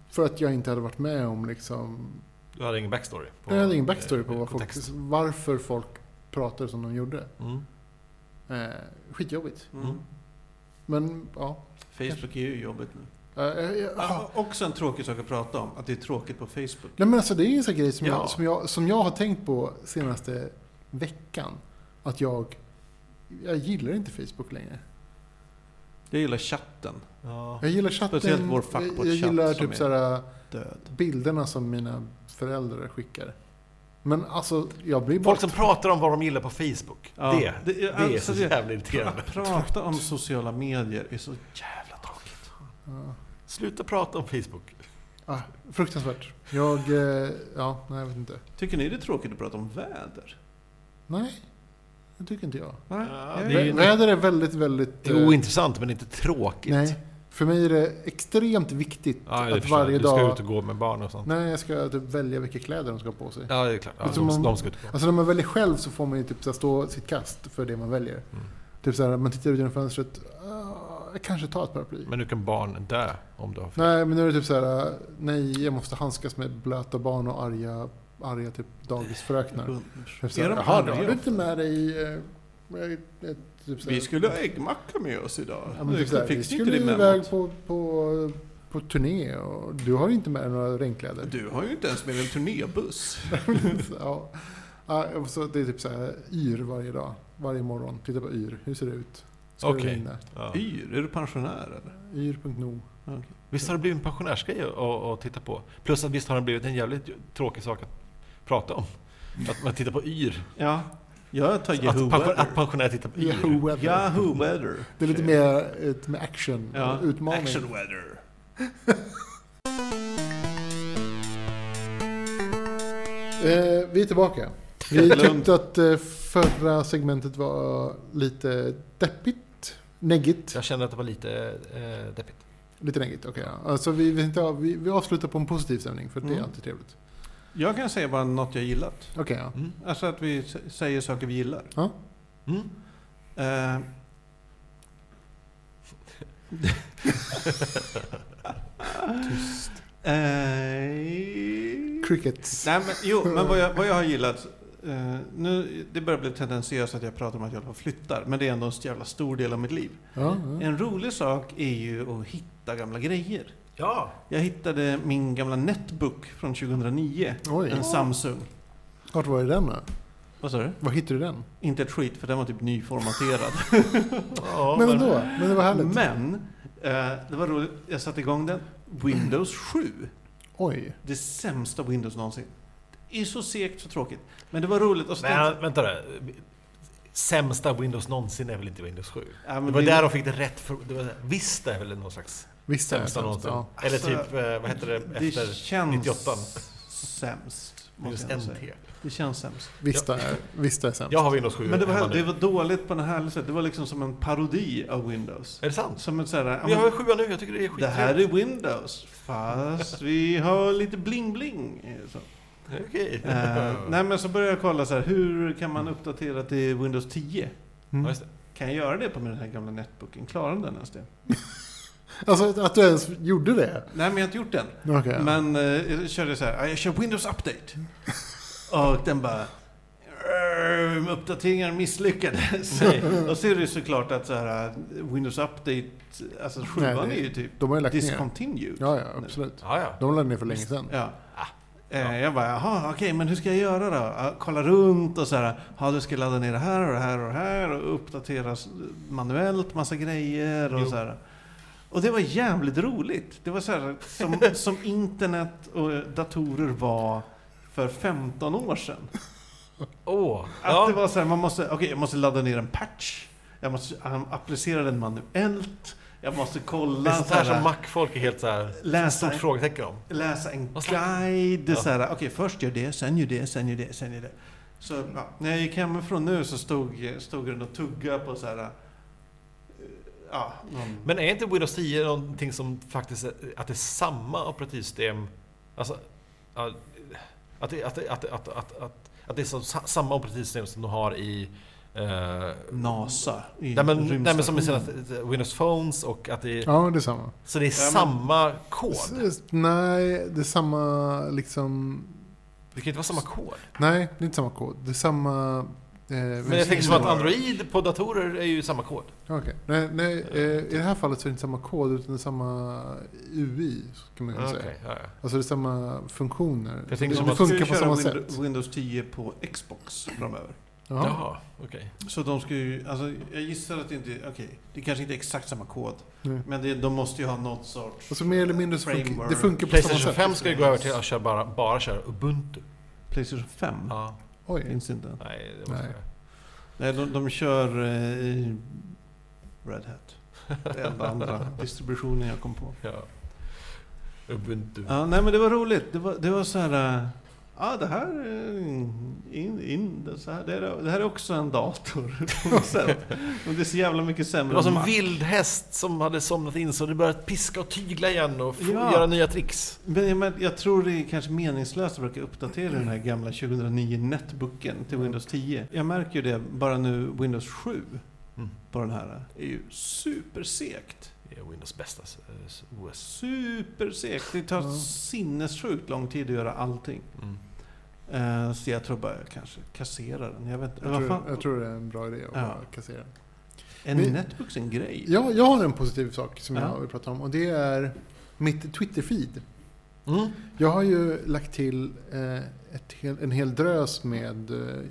S3: för att jag inte hade varit med om liksom...
S1: Du hade ingen backstory? på-
S3: jag hade ingen backstory på
S1: eh,
S3: vad folk,
S1: kontext.
S3: varför folk pratade som de gjorde.
S1: Mm.
S3: Eh, skitjobbigt.
S2: Mm.
S3: Men ja.
S2: Facebook är ju jobbigt nu.
S3: Eh, jag- jag-
S2: Ah, också en tråkig sak att prata om, att det är tråkigt på Facebook.
S3: Nej men alltså det är ju en sån grej som,
S2: Ja.
S3: jag, som, jag, som jag har tänkt på senaste veckan. Att jag, jag gillar inte Facebook längre.
S2: Jag gillar chatten.
S1: Ja.
S3: Jag gillar chatten.
S2: Speciellt vår
S3: jag,
S2: fuckbot-chatt
S3: jag gillar
S2: som
S3: typ
S2: är-
S3: såhär,
S2: Död.
S3: bilderna som mina föräldrar skickar. Men alltså jag blir bara...
S1: Folk som pratar om vad de gillar på Facebook.
S2: Ja.
S1: Det, det,
S2: Det-
S1: är
S2: alltså,
S1: så
S2: det-
S1: jävla irriterande.
S2: Pra- Prata om sociala medier är så jävla tråkigt.
S3: Ja.
S1: Sluta prata om Facebook.
S3: Ah, fruktansvärt. Jag, eh, ja, nej jag vet inte.
S2: Tycker ni det är tråkigt att prata om väder?
S3: Nej, det tycker inte jag.
S2: Nej,
S1: Ja,
S2: jag
S1: det är
S2: vet.
S1: ju-
S3: Väder är väldigt, väldigt...
S1: Det
S3: eh,
S1: är ointressant men inte tråkigt.
S3: Nej, för mig är det extremt viktigt
S1: Ja, det
S3: att
S1: förstår jag.
S3: varje
S1: Du ska
S3: dag...
S1: ut och gå med barn och sånt.
S3: Nej, jag ska typ välja vilka kläder de ska ha på sig.
S1: Ja, det är klart. Ja,
S3: Jag tror
S1: de,
S3: man-
S1: de ska ut och gå.
S3: Alltså när man väljer själv så får man ju typ så här stå sitt kast för det man väljer.
S1: Mm.
S3: Typ så här, man tittar ut genom fönstret, "Ah, jag kanske tar ett paraply.
S1: Men nu kan barn dö om du har fel.
S3: Nej, men nu är det typ så här, nej jag måste handskas med blöta barn och arga, arga typ dagisfröknar. Typ så här,
S2: Mm. Är de
S3: Jaha, det har
S2: arga?
S3: du inte med dig... eh, eh, eh, typ så här-
S2: Vi skulle ha äggmacka med oss idag.
S3: Ja, men typ så här,
S2: fick
S3: vi
S2: ni inte
S3: skulle
S2: det
S3: iväg
S2: med
S3: på, på, på turné och du har ju inte med dig några regnkläder.
S2: Du har ju inte ens med en turnébuss.
S3: ja. Ja, och så det är typ så här yr varje dag, varje morgon. Titta på yr, hur ser det ut? Ska det
S1: Okej.
S3: regna?
S1: Ja.
S2: Yr, är du pensionär eller?
S3: Yr.no.
S1: Visst har det blivit en pensionärsgrej att- att, att titta på? Plus att visst har det blivit en jävligt tråkig sak att prata om? Att man tittar på yr.
S2: Ja. Jag tar
S1: Att,
S2: Yahoo
S1: pension, att
S2: Weather.
S1: pensionärer tittar på yr.
S3: Yahoo weather.
S2: Yahoo Weather.
S3: Det är lite mer, ett, med action,
S2: Ja,
S3: utmaning.
S2: Action Weather.
S3: Eh, vi är tillbaka. Vi
S2: Lugnt.
S3: tyckte att eh, förra segmentet var lite deppigt. Neggigt.
S1: Jag kände att det var lite eh, deppigt.
S3: Lite neggigt, okej. ja. Alltså vi, vi, inte, av- vi, vi avslutar på en positiv stämning, för det är
S2: Mm.
S3: alltid trevligt.
S2: Jag kan säga bara något jag gillat.
S3: Okej, ja.
S1: Mm.
S2: Alltså att vi s- säger saker vi gillar.
S1: Mm.
S2: Eh. Eh.
S3: Crickets.
S2: Nej, men, jo, men vad jag, vad jag har gillat... Eh, nu, det börjar bli tendentiöst att jag pratar om att jag håller på och flyttar, men det är ändå en så jävla stor del av mitt liv.
S3: Ja, ja.
S2: En rolig sak är ju att hitta gamla grejer.
S1: Ja!
S2: Jag hittade min gamla netbook från 2009,
S3: Oj,
S2: en Samsung.
S3: vart var är den då?
S2: Vad sa du?
S3: Var hittade du den?
S2: Inte ett skit, för den var typ nyformaterad.
S1: ja
S3: men ändå, men det var härligt.
S2: men, eh, det var roligt. Jag satte igång den. Windows 7.
S3: Oj.
S2: Det sämsta Windows någonsin. Det är så segt, så tråkigt. Men det var roligt. Och så tänkte-
S1: Men vänta där. Sämsta Windows någonsin är väl inte Windows 7?
S2: Ja, men
S1: Det var
S2: det-
S1: där de fick det rätt för... Det var, visst är väl någon slags
S3: Visst är det
S1: sämsta
S3: sämst,
S1: någonsin?
S3: ja.
S1: Eller
S2: Alltså,
S1: typ, eh, vad hette det efter
S2: känns
S1: 98?
S2: sämst.
S1: Windows
S2: Måste jag säga.
S1: NT?
S2: Det känns sämst.
S3: Visst är, visst är sämst.
S1: Jag har Windows 7
S2: Men det var,
S1: hemma nu.
S2: det var dåligt på en härlig sätt. Det var liksom som en parodi av Windows.
S1: Är det sant?
S2: Som en sån här,
S1: Vi
S2: ja,
S1: har ju 7 nu, jag tycker det är
S2: men,
S1: skit.
S2: det här är Windows, fast vi har lite bling-bling. eh, Så.
S1: Okej.
S2: Eh, nej men så började jag kolla så här, hur kan man uppdatera till Windows 10?
S1: Ja,
S3: Mm.
S1: just det.
S2: Kan jag göra det på min här gamla netbooken? Klarar den ens det?
S3: Alltså att- att du ens gjorde det.
S2: Nej men jag har inte gjort den.
S3: Okej.
S2: Men eh, jag körde så här, "Ah, jag kör Windows Update. Och den bara... "Ehm, Uppdateringen misslyckades. Och så är det såklart att så här, eh, Windows Update, alltså sjuan
S3: det-
S2: är ju typ
S3: De har ju lagt ner.
S2: discontinued.
S3: Ja, ja, absolut.
S1: Ja, ja.
S3: De lade ner för länge sedan.
S2: Ja. Eh, Jag bara, jaha, okej, men hur ska jag göra då? Ah, Kolla runt och så här, ja du ska ladda ner det här och det här och det här och uppdatera s- manuellt massa grejer och
S1: Jo.
S2: så här. Och det var jävligt roligt. Det var så här, som, som internet och datorer var för 15 år sedan.
S1: Åh!
S2: Att
S1: ja.
S2: det var så här, man måste, okej, jag måste ladda ner en patch. Jag måste um, applicera den manuellt. Jag måste
S1: det
S2: kolla.
S1: är sånt här
S2: så här,
S1: som Mac-folk är helt så här...
S2: läsa
S1: Stort frågetecken om.
S2: läsa en
S1: Och snacka.
S2: guide.
S1: Ja.
S2: Så här, okej, först gör det, sen gör det, sen gör det, sen gör det. Så ja, när jag gick hemifrån nu så stod, stod den och tuggade på så här... eh, Ja, någon,
S1: Men är inte Windows 10 någonting som faktiskt, är- att det är samma operativsystem? Alltså, ja, att det, att det, att, det- att, att, att, att det är som, sa- samma operativsystem som de har i... Eh,
S2: NASA. I
S1: nej, men, nej men som i sina eh,
S2: rymdstationen.
S1: Windows Phones och att det är,
S3: Ja, det är samma.
S1: Så det är
S2: men-
S1: samma kod?
S3: S- s- Nej, det är samma liksom...
S1: Det kan ju inte vara samma kod.
S3: Nej, det är inte samma kod. Det är samma... eh,
S1: Men jag
S3: version.
S1: tänker som att Android på datorer är ju samma kod.
S3: Ja, Okej. Nej, nej eh, i det här fallet så är det inte samma kod utan det är samma UI. Kan man kunna
S1: Okej,
S3: säga.
S1: ja, ja.
S3: Alltså det är samma funktioner.
S1: Jag
S3: Så
S1: tänker
S3: det
S1: som
S3: det
S1: att-
S2: Ska
S3: funkar på
S2: Mm. ju
S3: samma
S2: köra Windo-
S3: sätt.
S2: Windows 10 på Xbox framöver.
S3: Jaha.
S1: Jaha, okej.
S2: Så de ska ju, alltså jag gissar att det inte, okej, det kanske inte är exakt samma kod.
S3: Nej.
S2: Men det, de måste ju ha något sorts...
S3: Alltså mer eller mindre så funkar
S2: Framework.
S3: det funkar på samma
S1: Playstation
S3: sätt.
S1: 5 ska ju gå över till att köra bara, bara köra Ubuntu.
S2: Playstation 5?
S1: Ja.
S3: Oj.
S2: Finns inte.
S1: Nej, det var
S3: Nej.
S2: Nej, de, de kör eh, Red Hat. Det är enda andra distributionen jag kom på.
S1: Ja. Ubuntu.
S2: Ja, nej, men det var roligt. Det var, det var så här... eh, Ja, det här, är en- in, in, det, så här det, är, det här är också en dator på något sätt. Men det är så jävla mycket
S1: Det
S2: sämre
S1: var
S2: än
S1: som
S2: Mac.
S1: en vild häst som hade somnat in så det började piska och tygla igen och f-
S2: Ja.
S1: göra nya tricks.
S2: Men jag, men, jag tror det är kanske meningslöst att försöka uppdatera den här gamla 2009 netbooken till Windows 10. Jag märker ju det bara nu, Windows 7
S1: Mm.
S2: på den här eh, är ju supersegt.
S1: Det är Windows bästa eh, s- OS.
S2: Supersegt. Det tar
S3: Ja.
S2: sinnessjukt lång tid att göra allting.
S1: Mm.
S2: Eh, Så jag tror bara jag kanske kasserar den. Jag vet inte.
S3: Jag
S2: Vad fan?
S3: tror, jag tror det är en bra idé att
S2: Ja.
S3: bara kassera.
S2: En
S3: Vi-
S2: Netbooks en grej?
S3: Ja, jag har en positiv sak som
S2: Ja.
S3: jag vill prata om och det är mitt Twitter-feed.
S1: Mm.
S3: Jag har ju lagt till eh, ett hel, en hel drös med eh,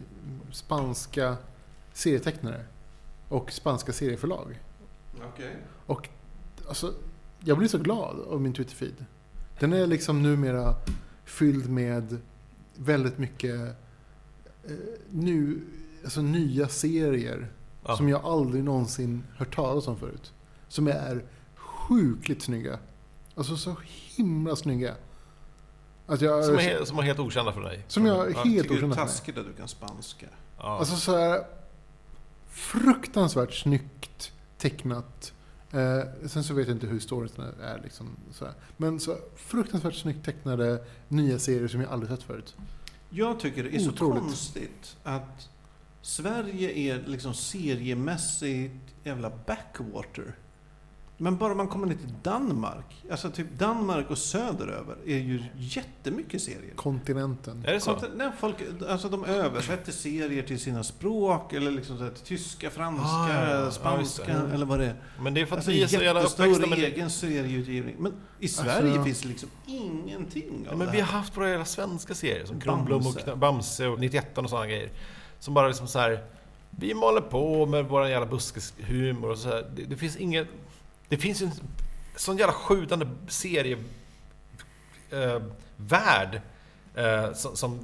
S3: spanska serietecknare och spanska serieförlag.
S2: Okej.
S3: Och alltså, jag blir så glad av min Twitter-feed. Den är liksom numera fylld med väldigt mycket eh, nu, alltså nya serier
S1: Ja.
S3: som jag aldrig någonsin hört talas om förut. Som är sjukligt snygga. Alltså så himla snygga. Att jag,
S1: Som,
S3: som,
S1: är, he- som är helt okända för dig.
S3: jag är
S1: Ja.
S3: helt
S2: Tycker du
S3: okända
S2: är
S3: för mig.
S2: taskigt att du kan spanska?
S1: Ja.
S3: Alltså så här fruktansvärt snyggt tecknat. Eh, sen så vet jag inte hur storyn är liksom. Så här. Men så fruktansvärt snyggt tecknade nya serier som jag aldrig sett förut.
S2: Jag tycker det är så
S3: Otroligt.
S2: konstigt att Sverige är liksom seriemässigt jävla backwater. Men bara man kommer ner till Danmark, alltså typ Danmark och söderöver är ju jättemycket serier.
S3: Kontinenten.
S1: är det så?
S2: Kontin- Nej, folk, alltså de översätter serier till sina språk, eller liksom så här, till tyska,
S1: Ah,
S2: franska,
S1: ja, ja, just
S2: spanska
S1: det.
S2: eller vad det är.
S1: Men det är för att
S2: Alltså
S1: vi är så jävla uppväxta
S2: jättestor
S1: med det.
S2: egen serieutgivning. Men i Sverige
S3: Alltså-
S2: finns det liksom ingenting av
S1: Ja, men
S2: det
S1: vi
S2: här.
S1: har haft våra jävla svenska serier som Kronblom och
S2: Bamse.
S1: Kna- Bamse och 91 och sådana grejer. Som bara liksom så här. Vi maler på med våran jävla buskeshumor och så här. Det, det finns inget... Det finns ju en sån jävla sjudande serie... Eh, värld eh, som, som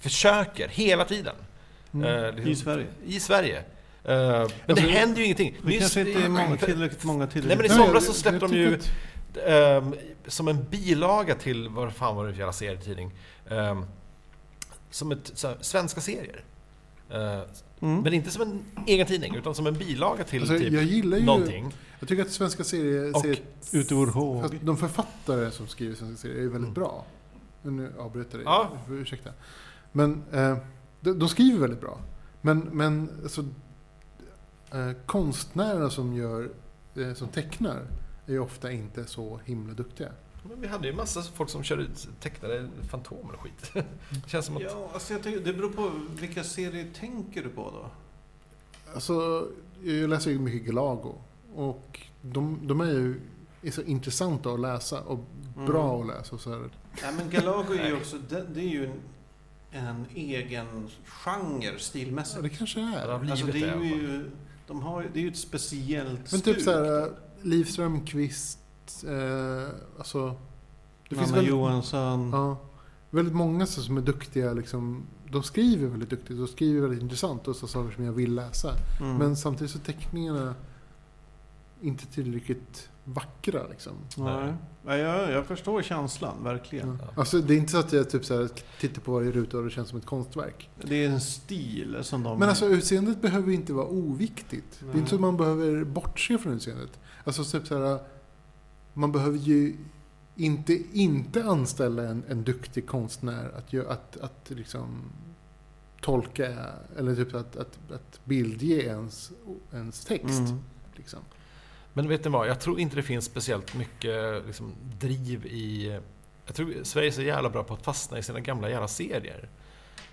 S1: försöker hela tiden. Eh, liksom-
S2: I Sverige.
S1: I Sverige. Eh, men det
S2: Alltså,
S1: händer ju ingenting.
S2: Det kanske inte är många, tillräckligt många
S1: Nej, men
S2: tillräckligt.
S1: i
S3: Nej,
S1: somras så
S3: jag-
S1: släppte
S3: jag
S1: de ju
S3: tycker att-
S1: ehm, som en bilaga till, vad fan var det för jävla serietidning? Ehm, som ett, så här, svenska serier. Eh,
S2: Mm.
S1: Men inte som en egen tidning, utan som en bilaga till
S3: Alltså,
S1: typ
S3: jag gillar ju...
S1: någonting.
S3: Jag tycker att svenska serier...
S1: Och-
S3: serier
S2: Ut ur
S3: att de författare som skriver svenska serier är väldigt bra. Nu avbryter jag dig.
S1: Mm. Ja.
S3: Ursäkta. Men eh, de, de skriver väldigt bra. Men, men alltså, eh, konstnärerna som, gör, eh, som tecknar är ju ofta inte så himla duktiga.
S1: Men vi hade ju massa folk som körde ut tecknade Fantomen och skit. Det känns som att...
S2: Ja, alltså jag tycker, det beror på vilka serier tänker du på då?
S3: Alltså, jag läser ju mycket Galago. Och de, de är ju är så intressanta att läsa och bra
S1: Mm.
S3: att läsa. Och så här.
S2: Nej, men Galago är ju också, det, det är ju en, en egen genre
S3: Ja,
S2: stilmässigt.
S3: det kanske
S1: Ja, det har
S3: är.
S1: blivit
S2: Alltså, det är
S1: i alla fall.
S2: ju, de har, ju- det är ju ett speciellt
S3: Men typ
S2: stuk.
S3: så här, Liv Strömquist, eh, alltså... Det
S2: Nanna
S3: väldigt-
S2: Johansson.
S3: Ja. Väldigt många så som är duktiga, liksom, de skriver väldigt duktigt och skriver väldigt intressant och så saker som jag vill läsa.
S2: Mm.
S3: Men samtidigt så är teckningarna inte tillräckligt vackra. Liksom.
S2: Nej. Nej, jag, jag förstår känslan, verkligen.
S3: Ja. Alltså, det är inte så att jag typ, så här, tittar på varje ruta och det känns som ett konstverk.
S2: Det är en stil som de... Mm.
S3: Men alltså utseendet behöver inte vara oviktigt. Det
S2: Nej.
S3: är inte så att man behöver bortse från utseendet. Alltså typ så här, man behöver ju inte, inte anställa en, en duktig konstnär att, gö- att, att liksom tolka eller typ att, att, att bildge ens, ens text.
S2: Mm.
S3: Liksom.
S1: Men vet ni vad, jag tror inte det finns speciellt mycket liksom, driv i... Jag tror Sverige är så jävla bra på att fastna i sina gamla jävla serier.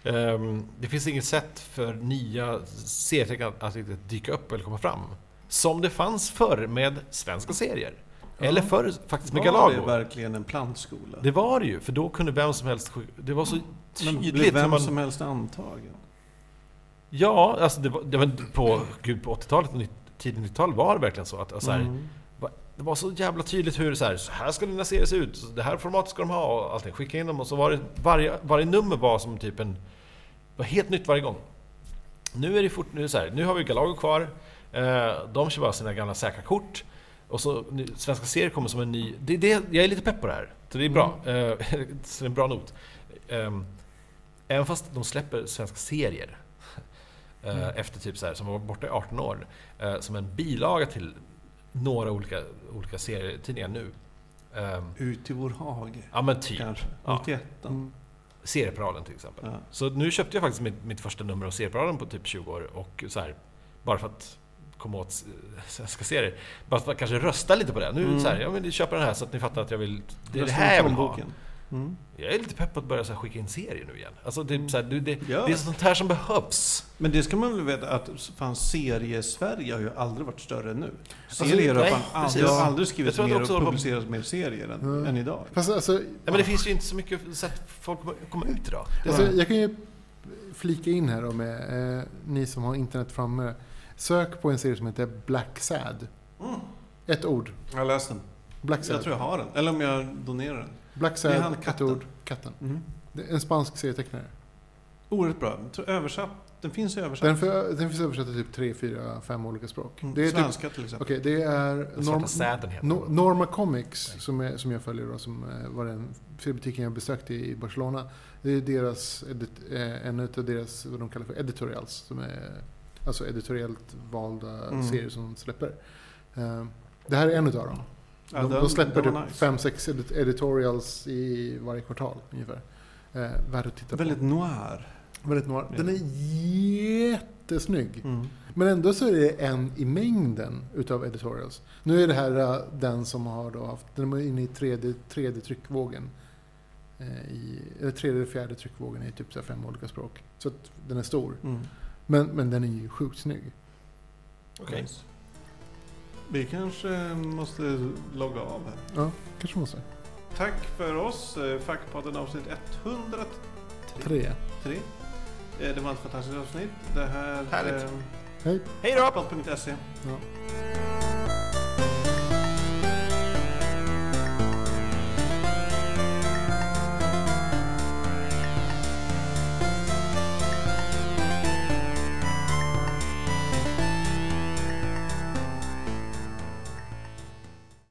S1: Ehm, det finns inget sätt för nya serietecknare att, att riktigt dyka upp eller komma fram. Som det fanns förr med svenska serier. Eller förr faktiskt med
S2: var det
S1: Galago.
S2: verkligen en plantskola?
S1: Det var det ju, för då kunde vem som helst... sk- Det var så
S2: Men
S1: tydligt.
S2: blev
S1: hur
S2: vem
S1: man,
S2: som helst antagen?
S1: Ja, alltså det var, det var på, gud, på 80-talet och nytt- tidigt 90-tal var det verkligen så. att alltså, här,
S2: Mm.
S1: Va- Det var så jävla tydligt hur så här, så här ska dina serier se ut, så det här formatet ska de ha och allting. Skicka in dem och så var det, varje, varje nummer var som typ en... var helt nytt varje gång. Nu är det fort, nu är det så här, nu har vi Galago kvar, eh, de kör bara sina gamla säkra kort. Och så nu, svenska serier kommer som en ny... Det, är det, jag är lite pepp på det här, så det är bra. Eh, så det är en bra not. Ehm, även fast de släpper svenska serier eh,
S2: Mm.
S1: efter typ så här, som var borta i 18 år, eh, som en bilaga till några olika, olika serietidningar nu. Ehm,
S2: Ut i vår hage,
S1: ja men typ.
S2: kanske.
S1: Ja.
S2: 91
S3: Mm.
S1: Serieparaden till exempel.
S2: ja.
S1: Så nu köpte jag faktiskt mitt, mitt första nummer av Serieparaden på typ 20 år. Och så här, bara för att komma åt eh, svenska serier. Bara för att kanske rösta lite på det. Nu
S2: Mm.
S1: så här, jag vill köpa den här så att ni fattar att jag vill... Det är det här jag vill ha.
S2: Plånboken. Mm.
S1: Jag är lite pepp på att börja så här, skicka in serier nu igen. Alltså det, är
S2: Mm.
S1: så här, det, det,
S2: Ja.
S1: det är sånt här som behövs.
S2: Men det ska man väl veta att fan, serie-Sverige har ju aldrig varit större än nu.
S1: Alltså,
S2: Serier har
S1: nej,
S2: fan aldrig,
S1: precis.
S2: har aldrig
S1: Jag
S2: skrivits
S1: tror att
S2: mer
S1: också
S2: och
S1: de-
S2: publicerats mer serier än,
S3: Mm.
S2: än idag.
S3: Fast alltså,
S1: Nej, men det finns ju inte så mycket sätt för folk att komma ut idag.
S2: Det
S3: Alltså,
S2: var-
S3: jag kan ju flika in här då med eh, ni som har internet framme. Sök på en serie som heter Black Sad.
S2: Mm.
S3: Ett ord.
S2: Jag har läst den.
S3: Black Sad.
S2: Jag tror jag har den. Eller om jag donerar den.
S3: Black
S2: Det är
S3: Sad,
S2: han
S3: ett
S2: katten.
S3: ord. Katten.
S2: Mm.
S3: Det är En spansk serietecknare.
S2: Oerhört bra. Jag tror översatt. Den finns ju översatt.
S3: Den, för, den finns översatt till typ tre, fyra, fem olika språk.
S2: Mm.
S3: Det är typ,
S2: Svenska till exempel.
S3: Okej, det är
S1: Den svarta
S3: Norm-
S1: säden heter
S3: No-
S1: den.
S3: Norma Comics, som, är, som jag följer, då, som eh, var den seriebutiken jag besökte i Barcelona. Det är deras, edit, eh, en utav deras, vad de kallar för editorials, som är alltså editoriellt valda
S2: Mm.
S3: serier som de släpper. Eh, Det här är en utav dem.
S2: Ja,
S3: de,
S2: den-
S3: de släpper
S2: den
S3: typ
S2: var nice.
S3: fem, sex edit- editorials i varje kvartal ungefär. Eh, Värd att titta
S2: Väldigt
S3: på.
S2: noir.
S3: Väldigt noir. Den är jättesnygg.
S2: Mm.
S3: Men ändå så är det en i mängden utav editorials. Nu är det här eh, den som har då haft, den är inne i tredje, tredje tryckvågen. eh, I, eller tredje och fjärde tryckvågen i typ så här fem olika språk. Så att den är stor.
S2: Mm.
S3: Men, men den är ju sjukt snygg.
S1: Okej.
S2: Nice. Vi kanske måste logga av här.
S3: Ja, kanske måste.
S2: Tack för oss, eh, Fackpodden avsnitt 103.
S3: Tre.
S2: Eh, Det var ett fantastiskt avsnitt. Det här...
S1: Härligt.
S2: eh,
S3: Hej.
S1: Hej då!
S2: Fackpodd.se.
S3: Ja.